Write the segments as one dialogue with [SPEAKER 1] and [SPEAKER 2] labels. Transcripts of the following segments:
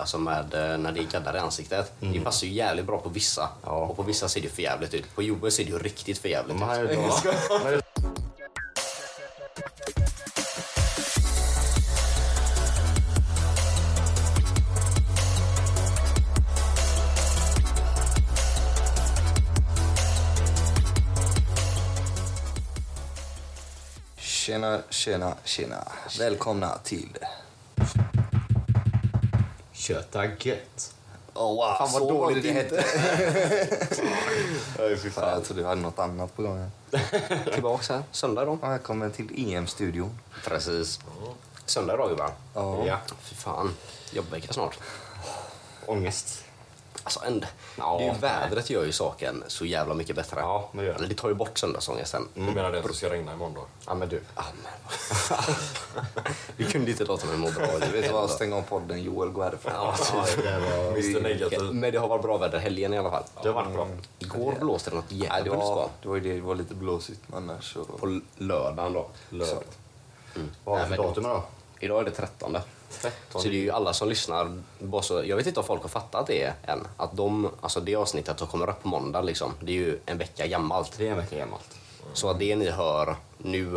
[SPEAKER 1] Alltså med eh, när det är gaddar i ansiktet. Det passar ju jävligt bra på vissa.
[SPEAKER 2] Mm. Ja.
[SPEAKER 1] Och på vissa ser det för jävligt ut. På Joel ser det ju riktigt för jävligt
[SPEAKER 2] Men han är
[SPEAKER 1] ut.
[SPEAKER 2] ju bra. Men det-
[SPEAKER 3] Tjena, tjena, tjena. Välkomna till...
[SPEAKER 2] Köta gött.
[SPEAKER 3] Oh, wow,
[SPEAKER 1] Fan, vad dåligt det
[SPEAKER 2] Nej, fy
[SPEAKER 3] Fan, jag trodde jag hade något annat på gång. här.
[SPEAKER 1] Tillbaks här, söndag då.
[SPEAKER 3] Välkommen till E EM-studion.
[SPEAKER 1] Precis. Söndag idag gubbar.
[SPEAKER 3] Ja.
[SPEAKER 2] Ja,
[SPEAKER 1] Fy fan, jobbvecka snart.
[SPEAKER 2] ångest.
[SPEAKER 1] Alltså ändå,
[SPEAKER 2] Ja.
[SPEAKER 1] det är ju vädret gör ju saken så jävla mycket bättre.
[SPEAKER 2] Ja, det gör det.
[SPEAKER 1] Eller det tar ju bort söndagsångesten.
[SPEAKER 4] Du
[SPEAKER 2] Mm.
[SPEAKER 4] menar den som ska regna imorgon då?
[SPEAKER 2] Ja, men du.
[SPEAKER 1] Ah, men vad fan. Vi kunde inte låta mig må bra.
[SPEAKER 3] Du vet vad, stäng av podden. Joel, gå härifrån.
[SPEAKER 1] Ja,
[SPEAKER 2] Ja, det där var...
[SPEAKER 4] Mr Negativ.
[SPEAKER 1] Men det har varit bra väder helgen i alla fall.
[SPEAKER 2] Det har varit bra.
[SPEAKER 1] Igår blåste det något
[SPEAKER 3] Nej, det,
[SPEAKER 1] jävligt
[SPEAKER 3] var,
[SPEAKER 1] var...
[SPEAKER 3] det var ju det, det var lite blåsigt men annars så...
[SPEAKER 1] På lördagen då.
[SPEAKER 2] Lördag.
[SPEAKER 3] Exakt.
[SPEAKER 2] Vad har vi
[SPEAKER 1] Nej,
[SPEAKER 2] för
[SPEAKER 1] men-
[SPEAKER 2] datum idag?
[SPEAKER 1] Idag är det trettonde. Så det är
[SPEAKER 2] 13.
[SPEAKER 1] ju alla som lyssnar. bara så- Jag vet inte om folk har fattat det än. Att de, alltså det avsnittet som kommer upp på måndag, liksom, det är ju en vecka gammalt.
[SPEAKER 2] Det är en vecka gammalt.
[SPEAKER 1] Så att det ni hör nu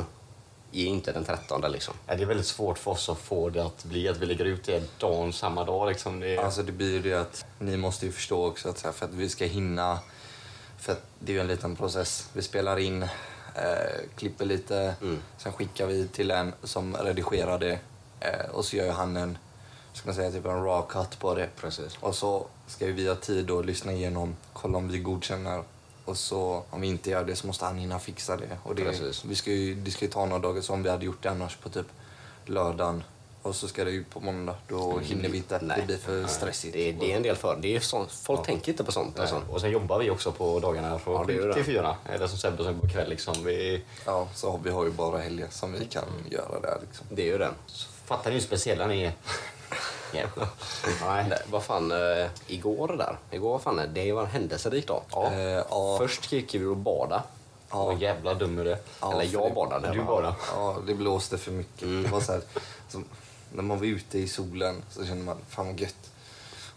[SPEAKER 1] är inte den trettonde. Liksom.
[SPEAKER 2] Ja, det är väldigt svårt för oss att få det att bli att vi lägger ut det dagen samma dag. Liksom. Det är...
[SPEAKER 3] Alltså det blir ju det att ni måste ju förstå också att så här, för att vi ska hinna, för att det är ju en liten process. Vi spelar in, eh, klipper lite,
[SPEAKER 1] Mm.
[SPEAKER 3] sen skickar vi till en som redigerar det eh, och så gör ju han en, ska man säga, typ en raw cut på det.
[SPEAKER 1] Precis.
[SPEAKER 3] Och så ska ju vi ha tid att lyssna igenom, kolla om vi godkänner och så om vi inte gör det så måste han hinna fixa det. Och det,
[SPEAKER 1] Precis.
[SPEAKER 3] vi ska ju, det ska ju ta några dagar som vi hade gjort det annars på typ lördagen och så ska det ut på måndag. Då
[SPEAKER 1] Mm.
[SPEAKER 3] hinner vi inte.
[SPEAKER 1] Nej.
[SPEAKER 3] Det blir för stressigt.
[SPEAKER 1] Det, är- det är en del för. Det är sånt, folk tänker inte på sånt. Alltså.
[SPEAKER 2] Och sen jobbar vi också på dagarna från
[SPEAKER 1] Ja, det gör
[SPEAKER 2] sju
[SPEAKER 1] det.
[SPEAKER 2] till fyra. Eller som Sebbe sa på kväll. Liksom. Vi...
[SPEAKER 3] Ja, så har vi har ju bara helger som
[SPEAKER 1] Mm.
[SPEAKER 3] vi kan göra där liksom.
[SPEAKER 1] Det är ju det.
[SPEAKER 2] Så fattar ni hur speciella ni är? Ja. Nej.
[SPEAKER 1] Nej, vad fan, eh, igår där. Igår, vad fan, eh, det var en händelserik dag.
[SPEAKER 2] Ja.
[SPEAKER 3] Eh, ja,
[SPEAKER 1] Först gick vi och badade.
[SPEAKER 2] Vad jävla dum är det.
[SPEAKER 3] Ja,
[SPEAKER 1] Eller
[SPEAKER 3] för
[SPEAKER 1] jag
[SPEAKER 3] det-
[SPEAKER 1] badade.
[SPEAKER 2] Du
[SPEAKER 1] va?
[SPEAKER 2] bara.
[SPEAKER 3] ja, det blåste för mycket. Det var så här, som, när man var ute i solen så kände man fan vad gött.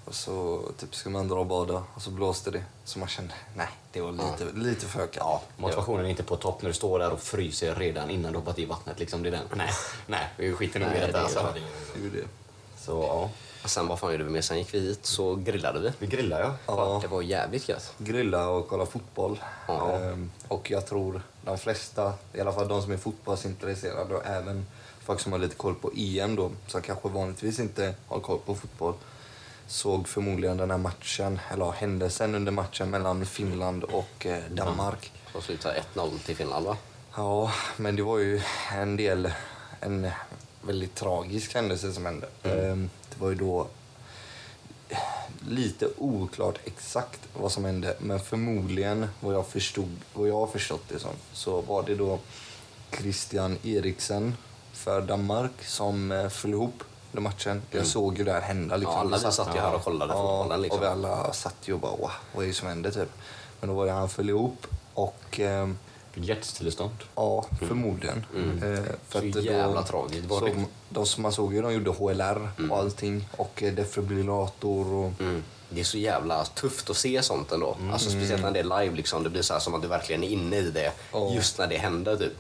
[SPEAKER 3] Och så typ ska man dra och bada och så blåste det. Så man kände nej, det var lite, lite för ökat. Ja,
[SPEAKER 2] Motivationen är inte på topp när du står där och fryser redan innan du hoppat i vattnet. Liksom. Det är den. Nej, nej, vi skiter nog i detta. Alltså.
[SPEAKER 3] det är ju det.
[SPEAKER 2] Så ja,
[SPEAKER 1] Och Sen vad fan gjorde vi mer? Sen gick vi hit så grillade vi.
[SPEAKER 2] vi grillar ja.
[SPEAKER 3] Ja,
[SPEAKER 1] Det var jävligt gött.
[SPEAKER 3] grilla och kolla fotboll.
[SPEAKER 1] Ja.
[SPEAKER 3] Ehm, och jag tror de flesta, i alla fall de som är fotbollsintresserade och även folk som har lite koll på EM då, som kanske vanligtvis inte har koll på fotboll, såg förmodligen den här matchen, eller ja, händelsen under matchen mellan Finland och eh, Danmark.
[SPEAKER 1] Och slutade 1-0 till Finland va?
[SPEAKER 3] Ja, men det var ju en del, en väldigt tragisk händelse som hände.
[SPEAKER 1] Mm.
[SPEAKER 3] Ehm, Det var ju då lite oklart exakt vad som hände, men förmodligen vad jag förstod, vad jag har förstått det som, så var det då Christian Eriksen för Danmark som eh, föll ihop under matchen. Jag såg ju det här hända. Liksom.
[SPEAKER 1] Mm. Ja, alla vi satt ju här och kollade fotbollen, liksom.
[SPEAKER 3] Och vi alla satt ju och bara, "Wow, vad är det som händer typ? Men då var det han föll ihop och ehm,
[SPEAKER 2] Hjärtstillestånd.
[SPEAKER 3] Ja, förmodligen. Eh,
[SPEAKER 1] Mm. Så jävla tragiskt var det.
[SPEAKER 3] så, de som man såg ju, de gjorde HLR och allting och eh, defibrillator och...
[SPEAKER 1] Mm. Det är så jävla tufft att se sånt ändå.
[SPEAKER 2] Mm.
[SPEAKER 1] Alltså, speciellt när det är live. Liksom. Det blir så här som att du verkligen är inne i det
[SPEAKER 3] Ja.
[SPEAKER 1] just när det händer. Typ.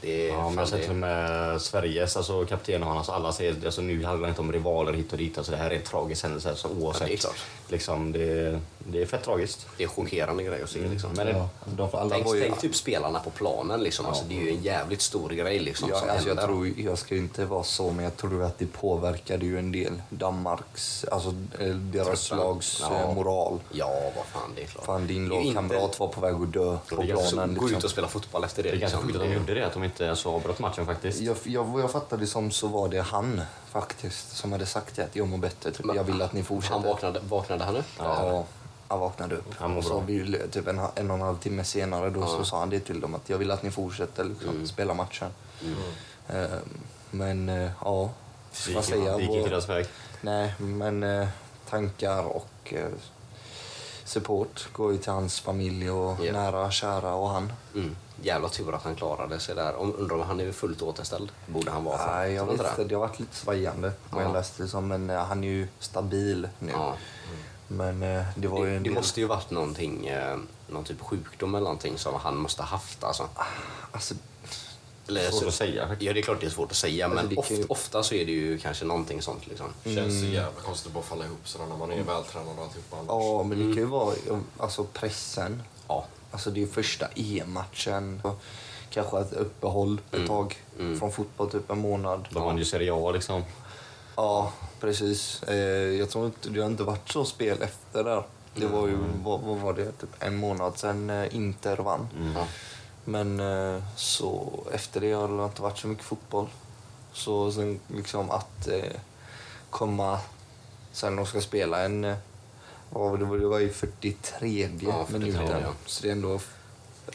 [SPEAKER 1] Det är, fan,
[SPEAKER 2] Ja, men jag har
[SPEAKER 1] det
[SPEAKER 2] sett till och med Sveriges alltså, kapten och han, alltså, alla säger alltså, nu handlar det inte om rivaler hit och dit. Alltså, det här är en tragisk händelse alltså, oavsett.
[SPEAKER 1] Ja, det är klart.
[SPEAKER 2] liksom, det, det är fett tragiskt.
[SPEAKER 1] det är chockerande grej att se. Liksom.
[SPEAKER 2] Mm. Men det,
[SPEAKER 3] de, alla
[SPEAKER 1] tänk,
[SPEAKER 3] var ju,
[SPEAKER 1] tänk typ spelarna på planen. Liksom. Alltså, det är ju en jävligt stor grej liksom,
[SPEAKER 3] jag,
[SPEAKER 1] som
[SPEAKER 3] alltså, jag,
[SPEAKER 1] händer.
[SPEAKER 3] tror, ju- jag ska ju inte vara så, men jag tror att det påverkade ju en del Danmarks, alltså eh, deras
[SPEAKER 1] Trötta.
[SPEAKER 3] lags
[SPEAKER 1] Ja.
[SPEAKER 3] eh, moral.
[SPEAKER 1] Ja, vad fan det är klart.
[SPEAKER 3] Fan, din
[SPEAKER 1] Det är ju
[SPEAKER 3] lagkamrat
[SPEAKER 1] inte-
[SPEAKER 3] var på väg att dö på
[SPEAKER 1] Det är så-
[SPEAKER 3] planen.
[SPEAKER 1] Gå ut
[SPEAKER 3] Liksom.
[SPEAKER 1] och spela fotboll efter det.
[SPEAKER 2] det är ganska
[SPEAKER 1] liksom.
[SPEAKER 2] sjukt att de gjorde det, att de inte alltså, avbröt matchen faktiskt.
[SPEAKER 3] Jag, jag, vad jag fattade som så var det han faktiskt som hade sagt det att jag mår bättre. Typ. Jag vill att ni fortsätter.
[SPEAKER 1] Han vaknade, vaknade han upp?
[SPEAKER 3] Ja, han vaknade upp.
[SPEAKER 2] Han mår
[SPEAKER 3] Och så
[SPEAKER 2] bra.
[SPEAKER 3] vi, typ en, en och en halv timme senare då så sa han det till dem att jag vill att ni fortsätter liksom, spela matchen. Ehm, men eh, ja,
[SPEAKER 2] Det gick-
[SPEAKER 3] vad säger
[SPEAKER 2] Det gick inte
[SPEAKER 3] jag?
[SPEAKER 2] deras väg.
[SPEAKER 3] Nej, men eh, tankar och eh, support går ju till hans familj och
[SPEAKER 1] Ja.
[SPEAKER 3] nära, kära och han.
[SPEAKER 1] Mm. Jävla tur att han klarade sig där. Om, undrar om han är fullt återställd. Borde han vara. för-
[SPEAKER 3] Nej, jag
[SPEAKER 1] tror
[SPEAKER 3] vet
[SPEAKER 1] inte
[SPEAKER 3] inte. Det har varit lite svajande vad jag
[SPEAKER 1] Ja.
[SPEAKER 3] läste det som. Men eh, han är ju stabil nu.
[SPEAKER 1] Ja.
[SPEAKER 3] Men eh, det var ju
[SPEAKER 1] Det,
[SPEAKER 3] en
[SPEAKER 1] det
[SPEAKER 3] del...
[SPEAKER 1] måste ju varit någonting, eh, någon typ sjukdom eller någonting som han måste haft alltså.
[SPEAKER 3] Alltså,
[SPEAKER 1] Eller,
[SPEAKER 2] Svårt
[SPEAKER 1] så-
[SPEAKER 2] att säga. faktiskt.
[SPEAKER 1] Ja, det är klart det är svårt att säga, men
[SPEAKER 3] det kan
[SPEAKER 1] ofta,
[SPEAKER 3] ju- Mm.
[SPEAKER 1] ofta så är det ju kanske någonting sånt liksom.
[SPEAKER 4] Känns så jävla konstigt att bara falla ihop sådär när man är vältränad och typ alltihopa annars.
[SPEAKER 3] ja, men det kan ju vara alltså, pressen.
[SPEAKER 1] Ja.
[SPEAKER 3] Alltså det är ju första EM-matchen. Och Kanske ett uppehåll ett tag från fotboll, typ en månad.
[SPEAKER 2] De vann ju Serie A liksom.
[SPEAKER 3] Ja, precis. Eh, jag tror inte, det har inte varit så spel efter där. Det var ju,
[SPEAKER 1] Mm.
[SPEAKER 3] vad, vad var det, typ en månad sedan eh, Inter vann.
[SPEAKER 1] Mm. Ja.
[SPEAKER 3] Men eh, så efter det har det inte varit så mycket fotboll. Så sen liksom att eh, komma sen de ska spela en... eh, Ja, det var, det var ju 43
[SPEAKER 1] Ja, 43,
[SPEAKER 3] minuten.
[SPEAKER 1] ja.
[SPEAKER 3] Så det är ändå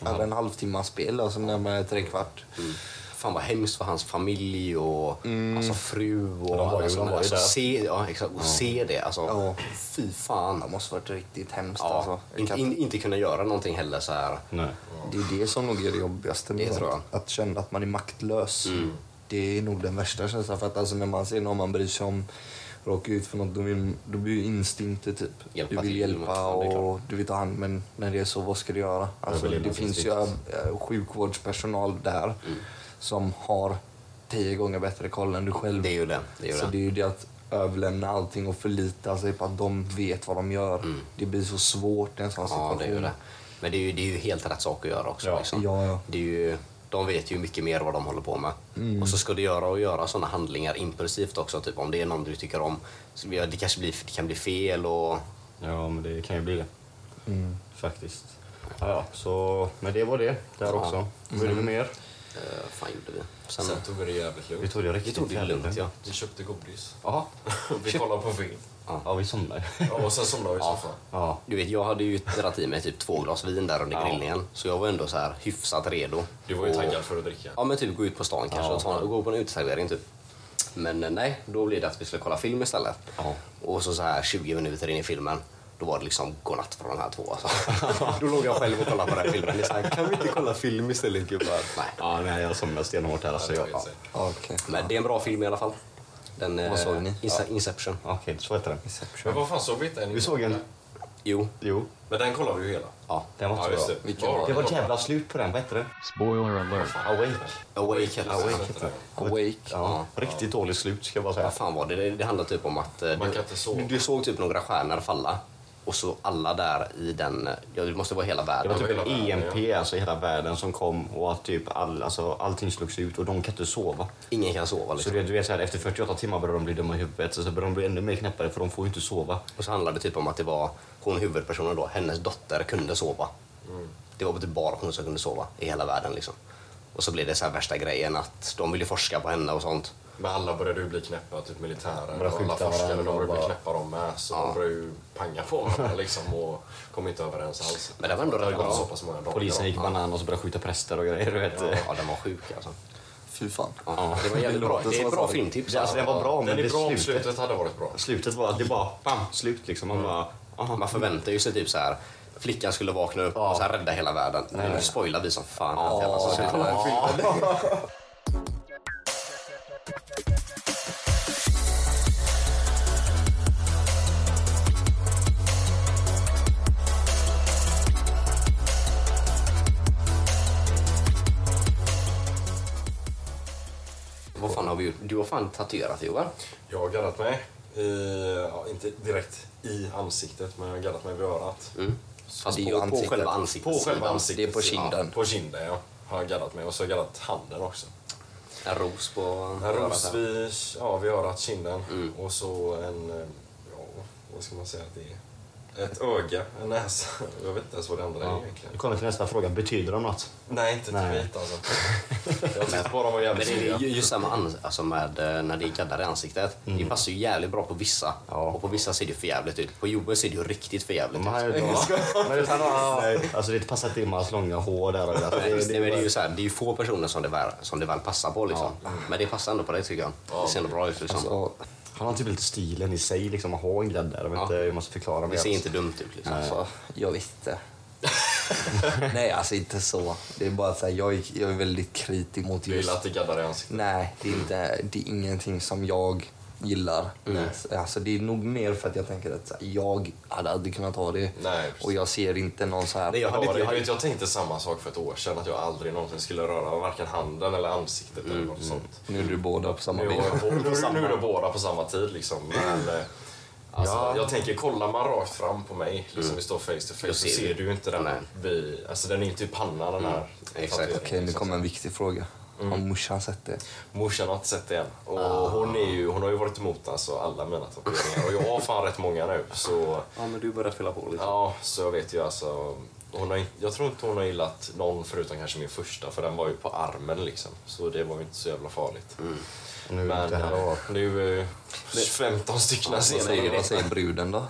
[SPEAKER 3] över en halvtimmas spel, alltså närmare trekvart.
[SPEAKER 1] Mm. Fan vad hemskt för hans familj och alltså, fru och
[SPEAKER 2] Mm. de var ju-
[SPEAKER 1] alla som
[SPEAKER 2] de var ju
[SPEAKER 1] alltså,
[SPEAKER 2] där.
[SPEAKER 1] se, ja, exakt, och se det. Alltså,
[SPEAKER 3] Ja.
[SPEAKER 1] Fy fan.
[SPEAKER 3] Det måste varit riktigt hemskt
[SPEAKER 1] Ja,
[SPEAKER 3] alltså. Jag kan-
[SPEAKER 1] in, in, inte kunna göra någonting heller så här.
[SPEAKER 2] Nej.
[SPEAKER 3] Det är det som nog är det jobbigaste med
[SPEAKER 1] Det
[SPEAKER 3] sånt.
[SPEAKER 1] tror jag. Mm.
[SPEAKER 3] Att känna att man är maktlös. Det är nog den värsta känslan. För att alltså när man ser någon man bryr sig om råka ut för något, då, vill, då blir ju instinkter typ.
[SPEAKER 1] Hjälpa
[SPEAKER 3] du vill
[SPEAKER 1] till,
[SPEAKER 3] hjälpa
[SPEAKER 1] ja, det är klart.
[SPEAKER 3] och du vill ta hand men när det är så, vad ska du göra? Alltså,
[SPEAKER 2] Överlevnad
[SPEAKER 3] det finns ju eh, sjukvårdspersonal där
[SPEAKER 1] Mm.
[SPEAKER 3] som har tio gånger bättre koll än du själv.
[SPEAKER 1] Det är ju det. det, är ju
[SPEAKER 3] så
[SPEAKER 1] det.
[SPEAKER 3] det är ju det att överlämna allting och förlita sig på att de vet vad de gör. Det blir så svårt i en sån
[SPEAKER 1] Mm. Ja,
[SPEAKER 3] situation.
[SPEAKER 1] det är ju det. Men det är ju, det är ju helt rätt sak att göra också.
[SPEAKER 2] Ja.
[SPEAKER 1] Liksom.
[SPEAKER 3] Ja, ja.
[SPEAKER 1] Det är ju, de vet ju mycket mer vad de håller på med.
[SPEAKER 2] Mm.
[SPEAKER 1] Och så ska du göra och göra sådana handlingar impulsivt också. Typ om det är någon du tycker om. Så ja, det kanske blir, det kan bli fel och...
[SPEAKER 2] Ja, men det kan ju bli det.
[SPEAKER 1] Mm.
[SPEAKER 2] Faktiskt. Ja, ja, så, men det var det där också. Vad gjorde vi mer?
[SPEAKER 1] Eh, fan gjorde vi? Sen,
[SPEAKER 4] Sen tog vi det jävligt
[SPEAKER 2] Vi
[SPEAKER 4] lugnt.
[SPEAKER 2] tog det
[SPEAKER 1] vi
[SPEAKER 2] riktigt
[SPEAKER 1] tog det
[SPEAKER 2] jävligt
[SPEAKER 1] lugnt, ja.
[SPEAKER 4] Vi köpte godis.
[SPEAKER 2] Ja,
[SPEAKER 4] Vi kollade på film.
[SPEAKER 2] ja vi somnade.
[SPEAKER 4] Ja, och sen somnade vi i soffan.
[SPEAKER 2] Ja.
[SPEAKER 1] Du vet, jag hade ju dragit i mig typ två glas vin där under
[SPEAKER 2] Ja.
[SPEAKER 1] grillningen. Så jag var ändå så här hyfsat redo.
[SPEAKER 4] Du var ju
[SPEAKER 1] Och-
[SPEAKER 4] taggad för att dricka.
[SPEAKER 1] Ja, men typ gå ut på stan kanske
[SPEAKER 2] Ja.
[SPEAKER 1] och, ta, och gå på en uteservering typ. Men eh, nej, då blev det att vi skulle kolla film istället.
[SPEAKER 2] Ja.
[SPEAKER 1] Och så, så här 20 minuter in i filmen, då var det liksom godnatt från de här två. Alltså. då låg jag själv och kollade på den här filmen. Det är så här, kan vi inte kolla film istället gubbar? Nej.
[SPEAKER 2] ja, nej jag somnade stenhårt här alltså.
[SPEAKER 4] Det
[SPEAKER 2] Jag,
[SPEAKER 4] tog
[SPEAKER 2] ja.
[SPEAKER 4] ett sig.
[SPEAKER 3] Okej.
[SPEAKER 1] Men det är en bra film i alla fall. Den, eh,
[SPEAKER 3] Vad såg ni?
[SPEAKER 1] Inse- Inception.
[SPEAKER 2] Okej, så heter den.
[SPEAKER 4] Men vad fan såg vi inte en
[SPEAKER 2] Vi såg en...
[SPEAKER 1] Jo.
[SPEAKER 2] Jo,
[SPEAKER 4] Men den kollade vi ju hela.
[SPEAKER 1] Ja.
[SPEAKER 2] den var
[SPEAKER 4] Ja,
[SPEAKER 2] inte
[SPEAKER 4] just
[SPEAKER 2] så
[SPEAKER 4] det.
[SPEAKER 2] bra.
[SPEAKER 3] Vilken var
[SPEAKER 2] Det var ett jävla slut på den. Vad hette den?
[SPEAKER 5] Spoiler alert.
[SPEAKER 2] Awake.
[SPEAKER 1] Awake. Awake.
[SPEAKER 2] Awake heter den.
[SPEAKER 3] Awake.
[SPEAKER 2] Ja, riktigt dåligt slut ska jag bara säga.
[SPEAKER 1] Vad fan var det? Det, det handlade typ om att eh,
[SPEAKER 4] Man
[SPEAKER 1] du,
[SPEAKER 4] kan inte sova.
[SPEAKER 1] du, du såg typ några stjärnor falla och så alla där i den, eh, ja det måste vara hela
[SPEAKER 2] Det
[SPEAKER 1] världen.
[SPEAKER 2] var typ
[SPEAKER 4] hela
[SPEAKER 2] en
[SPEAKER 4] världen,
[SPEAKER 2] EMP, alltså hela världen som kom och att typ all, alltså, allting slogs ut och de kan inte sova.
[SPEAKER 1] Ingen kan sova
[SPEAKER 2] Så
[SPEAKER 1] liksom.
[SPEAKER 2] du vet, du vet så här, efter 48 timmar börjar de bli dumma i huvudet, så, så börjar de bli ännu mer knäppare för de får ju inte sova.
[SPEAKER 1] Och så handlade det typ om att det var hon huvudpersonen då, hennes dotter kunde sova. Det var typ bara hon som kunde sova i hela världen liksom. Och så blev det så här värsta grejen att de ville forska på henne och sånt.
[SPEAKER 4] Men alla började ju bli knäppa, typ militären
[SPEAKER 2] Började
[SPEAKER 4] och alla
[SPEAKER 2] skjuta
[SPEAKER 4] forskare de
[SPEAKER 2] varandra
[SPEAKER 4] började bli
[SPEAKER 2] och bara-
[SPEAKER 4] knäppa de med. Så de började ju panga på varandra liksom och kom inte överens alls.
[SPEAKER 1] Men det var ändå
[SPEAKER 4] Det hade
[SPEAKER 1] rätt
[SPEAKER 4] gått så
[SPEAKER 1] bra.
[SPEAKER 4] pass många dagar.
[SPEAKER 2] Polisen gick banan och så började skjuta präster och grejer. Du vet.
[SPEAKER 1] Ja, den var sjuk alltså.
[SPEAKER 3] Fy fan.
[SPEAKER 1] Ja, det var jävligt
[SPEAKER 3] Det
[SPEAKER 1] bra.
[SPEAKER 3] låter
[SPEAKER 1] Det är
[SPEAKER 3] som
[SPEAKER 1] ett bra
[SPEAKER 3] att-
[SPEAKER 1] filmtips.
[SPEAKER 2] Det, alltså, den var bra, men
[SPEAKER 4] Den
[SPEAKER 2] det
[SPEAKER 4] är bra om
[SPEAKER 2] slutet,
[SPEAKER 4] slutet hade varit bra.
[SPEAKER 2] slutet var att det bara bam, slut liksom.
[SPEAKER 1] Mm.
[SPEAKER 2] Man bara, aha.
[SPEAKER 1] Man förväntar ju sig typ så här flickan skulle vakna upp och så här rädda hela världen. Men nu spoilar vi som fan. Alltså, allt jävla som skulle hända. Vad fan har vi gjort? Du har fan tatuerat dig, Johan.
[SPEAKER 4] Jag har gaddat mig, i, ja, inte direkt i ansiktet, men jag har gaddat mig vid örat.
[SPEAKER 1] Fast
[SPEAKER 3] Det är
[SPEAKER 1] på,
[SPEAKER 3] ju
[SPEAKER 1] på
[SPEAKER 3] ansiktet.
[SPEAKER 1] själva
[SPEAKER 4] På
[SPEAKER 1] ansiktet.
[SPEAKER 4] själva ansiktet.
[SPEAKER 3] Det är på kinden.
[SPEAKER 4] Ja, på kinden, ja. Har jag gaddat mig. Och så har jag gaddat handen också.
[SPEAKER 1] En ros på...
[SPEAKER 4] En ros vid, ja, vid örat, kinden och så en, eh, ja, vad ska man säga att det är? Ett öga, en näsa. Jag vet inte ens vad det andra är
[SPEAKER 2] Vi
[SPEAKER 4] egentligen.
[SPEAKER 2] kommer till nästa fråga. Betyder de något?
[SPEAKER 4] Nej, inte
[SPEAKER 2] Nej.
[SPEAKER 4] tweet alltså. Jag tyckte bara de var
[SPEAKER 1] Men
[SPEAKER 4] jävligt
[SPEAKER 1] det är
[SPEAKER 4] snygga.
[SPEAKER 1] ju just samma ans- alltså med eh, när det är gaddar i ansiktet. Det
[SPEAKER 3] Mm.
[SPEAKER 1] passar ju jävligt bra på vissa. Och på vissa ser det ju för jävligt ut. På Joel ser det ju riktigt för jävligt
[SPEAKER 2] De
[SPEAKER 1] ut.
[SPEAKER 2] här är bra. Men det, nej, alltså, det passar inte in med hans långa hår där. Och det, alltså,
[SPEAKER 1] Nej,
[SPEAKER 2] det,
[SPEAKER 1] men
[SPEAKER 2] det,
[SPEAKER 1] det, är ju så här, det är ju få
[SPEAKER 3] Alltså,
[SPEAKER 1] personer som det väl, som det väl passar på. Liksom. Men det passar ändå på dig tycker jag. Det ser ändå bra ut. Liksom.
[SPEAKER 3] Så,
[SPEAKER 2] Han har typ lite stilen i sig, liksom, att ha en grädde där. Jag, vet
[SPEAKER 1] Ja.
[SPEAKER 2] inte, jag måste förklara
[SPEAKER 1] Det
[SPEAKER 2] mig.
[SPEAKER 1] ser
[SPEAKER 2] alls.
[SPEAKER 1] inte dumt ut liksom.
[SPEAKER 3] Alltså, jag visste. Nej, alltså inte så. Det är bara att så här, jag, är- jag är väldigt kritisk mot
[SPEAKER 4] Du gillar
[SPEAKER 3] just...
[SPEAKER 4] att det gaddar i ansiktet?
[SPEAKER 3] Nej, det är, inte, det är ingenting som jag gillar. Alltså, det är nog mer för att jag tänker att så här, jag hade aldrig kunnat ha det.
[SPEAKER 4] Nej, precis.
[SPEAKER 3] och jag ser inte någon så här...
[SPEAKER 1] Nej, jag hade
[SPEAKER 4] Jag,
[SPEAKER 1] inte-
[SPEAKER 4] jag,
[SPEAKER 1] jag hade
[SPEAKER 4] vet, jag tänkte samma sak för ett år sedan, att jag aldrig någonsin skulle röra varken handen eller ansiktet eller något sånt.
[SPEAKER 3] Nu är du båda på samma
[SPEAKER 4] Mm, Nu
[SPEAKER 3] bild.
[SPEAKER 4] är, på, nu är de båda på samma tid liksom. Men, eh, alltså, Jag tänker, kollar man rakt fram på mig, liksom, vi står face to face,
[SPEAKER 1] Då
[SPEAKER 4] så
[SPEAKER 1] ser
[SPEAKER 4] ser
[SPEAKER 1] vi.
[SPEAKER 4] du ju inte den.
[SPEAKER 1] Nej.
[SPEAKER 4] Vi, alltså, den är inte i pannan den här
[SPEAKER 1] Exakt.
[SPEAKER 4] tatueringen,
[SPEAKER 3] Okej, nu
[SPEAKER 4] liksom.
[SPEAKER 3] kommer en viktig fråga. Har morsan sett det?
[SPEAKER 4] Morsan har inte sett det än. Och hon, är ju, hon har ju varit emot alltså, alla mina tatueringar och jag har fan rätt många nu. Så,
[SPEAKER 1] Ja, men du börjar fylla på liksom. lite.
[SPEAKER 4] ja, så jag vet ju alltså. Hon har, in- jag tror inte hon har gillat någon förutom kanske min första för den var ju på armen liksom. Så det var ju inte så jävla farligt.
[SPEAKER 2] Nu är det
[SPEAKER 4] Men
[SPEAKER 2] inte här.
[SPEAKER 4] eh, Mm. nu eh, 15 stycken senare.
[SPEAKER 3] Vad säger bruden då?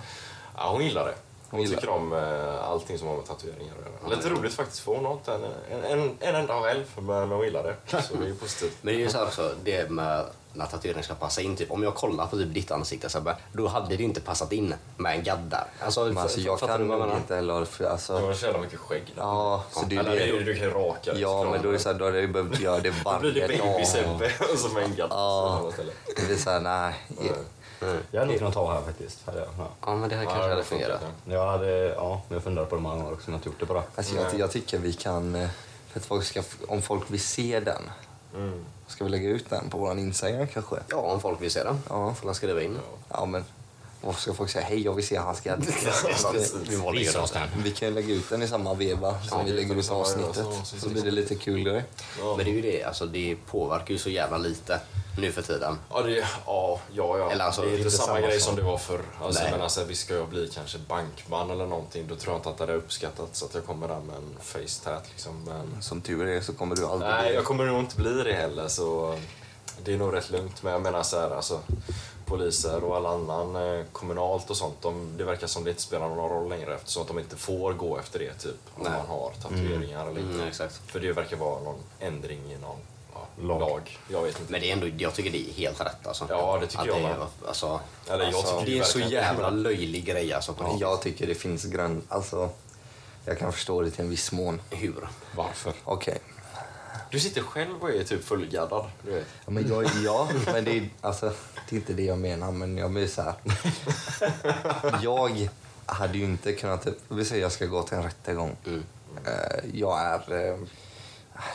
[SPEAKER 4] Ja, hon gillar det.
[SPEAKER 3] Hon
[SPEAKER 4] Hon
[SPEAKER 3] gillar
[SPEAKER 4] tycker om eh, allting som har med tatueringar att göra. Lite roligt faktiskt, för hon har inte en, en, en, en enda själv, men hon gillar det. Så det är ju positivt.
[SPEAKER 1] Men det är ju så här också, det med när tatueringen ska passa in. Typ, om jag kollar på typ ditt ansikte Sebbe, då hade det ju inte passat in med en gadd där. Alltså,
[SPEAKER 3] Men alltså,
[SPEAKER 1] f-
[SPEAKER 3] jag
[SPEAKER 1] fattar
[SPEAKER 3] kan
[SPEAKER 1] du vad jag
[SPEAKER 3] nog
[SPEAKER 1] menar?
[SPEAKER 3] inte heller... För,
[SPEAKER 4] Du
[SPEAKER 3] alltså,
[SPEAKER 4] har så jävla mycket skägg. där.
[SPEAKER 3] ja, så det är
[SPEAKER 4] Eller
[SPEAKER 3] det.
[SPEAKER 4] du, du kan ju raka dig,
[SPEAKER 3] Ja,
[SPEAKER 4] såklart.
[SPEAKER 3] men då är det så här, då hade jag ju behövt göra det
[SPEAKER 4] Då blir det
[SPEAKER 3] varje
[SPEAKER 4] baby
[SPEAKER 3] dag.
[SPEAKER 4] Sebbe som en gadd.
[SPEAKER 3] Ja. Det blir såhär, nej.
[SPEAKER 2] Jag hade nog kunnat ta här faktiskt. Hade jag. Ja.
[SPEAKER 1] Ja, men det här kanske hade fungerat.
[SPEAKER 2] Jag hade, ja, men jag funderar på det många gånger också, men jag har inte gjort det bara.
[SPEAKER 3] Alltså, jag, jag tycker vi kan... eh, För att folk ska, om folk vill se den,
[SPEAKER 4] Mm.
[SPEAKER 3] ska vi lägga ut den på vår Instagram kanske?
[SPEAKER 1] Ja, om folk vill se den
[SPEAKER 3] Ja.
[SPEAKER 1] får de skriva in.
[SPEAKER 3] Ja, men varför ska folk säga hej, jag vill se hans gadd?
[SPEAKER 1] Vi var
[SPEAKER 2] Visa oss
[SPEAKER 1] likadana.
[SPEAKER 2] den.
[SPEAKER 3] Vi kan ju lägga ut den i samma veva som
[SPEAKER 4] Ja,
[SPEAKER 3] vi
[SPEAKER 4] det är typ
[SPEAKER 3] lägger ut
[SPEAKER 4] samma veva
[SPEAKER 3] avsnittet.
[SPEAKER 4] som- som-
[SPEAKER 3] Så blir det lite kul grej.
[SPEAKER 1] Men det är ju det, alltså, det påverkar ju så jävla lite nu för tiden.
[SPEAKER 4] Ja, det, ja, ja, ja.
[SPEAKER 1] Eller alltså,
[SPEAKER 4] det är inte samma grej som
[SPEAKER 2] sak.
[SPEAKER 4] det var förr. Alltså,
[SPEAKER 1] Nej.
[SPEAKER 4] men alltså, visst ska jag bli kanske bankman eller någonting, då tror jag inte att det hade uppskattats att jag kommer där med en face tat liksom. Men,
[SPEAKER 3] Som tur är så kommer du aldrig
[SPEAKER 4] nej, jag kommer nog inte bli det heller så det är nog rätt lugnt. Men jag menar så här, alltså poliser och all annan eh, kommunalt och sånt, de, det verkar som det inte spelar någon roll längre eftersom att de inte får gå efter det typ om
[SPEAKER 1] Nej.
[SPEAKER 4] man har tatueringar eller inte.
[SPEAKER 1] Mm, exakt.
[SPEAKER 4] För det verkar vara någon ändring i någon ja, lag.
[SPEAKER 2] Lag.
[SPEAKER 4] Jag vet inte.
[SPEAKER 1] Men det är ändå, jag tycker det är helt rätt alltså.
[SPEAKER 4] Ja, det tycker
[SPEAKER 1] Att
[SPEAKER 4] jag
[SPEAKER 1] det, är-
[SPEAKER 4] med.
[SPEAKER 1] alltså,
[SPEAKER 4] Eller jag
[SPEAKER 1] alltså,
[SPEAKER 4] tycker
[SPEAKER 1] det är
[SPEAKER 4] det
[SPEAKER 1] en så
[SPEAKER 4] verkar-
[SPEAKER 1] jävla löjlig grej alltså. På riktigt.
[SPEAKER 3] Jag tycker det finns grön... Alltså, jag kan förstå det till en viss mån.
[SPEAKER 1] Hur?
[SPEAKER 4] Varför?
[SPEAKER 3] Okej.
[SPEAKER 4] Du sitter själv och är typ fullgaddad. Du vet.
[SPEAKER 3] Ja, men jag, ja, men det är, alltså, det är inte det jag menar, men jag blir så här. Jag hade ju inte kunnat... Typ, vi säger jag ska gå till en rättegång. Eh, Jag är eh,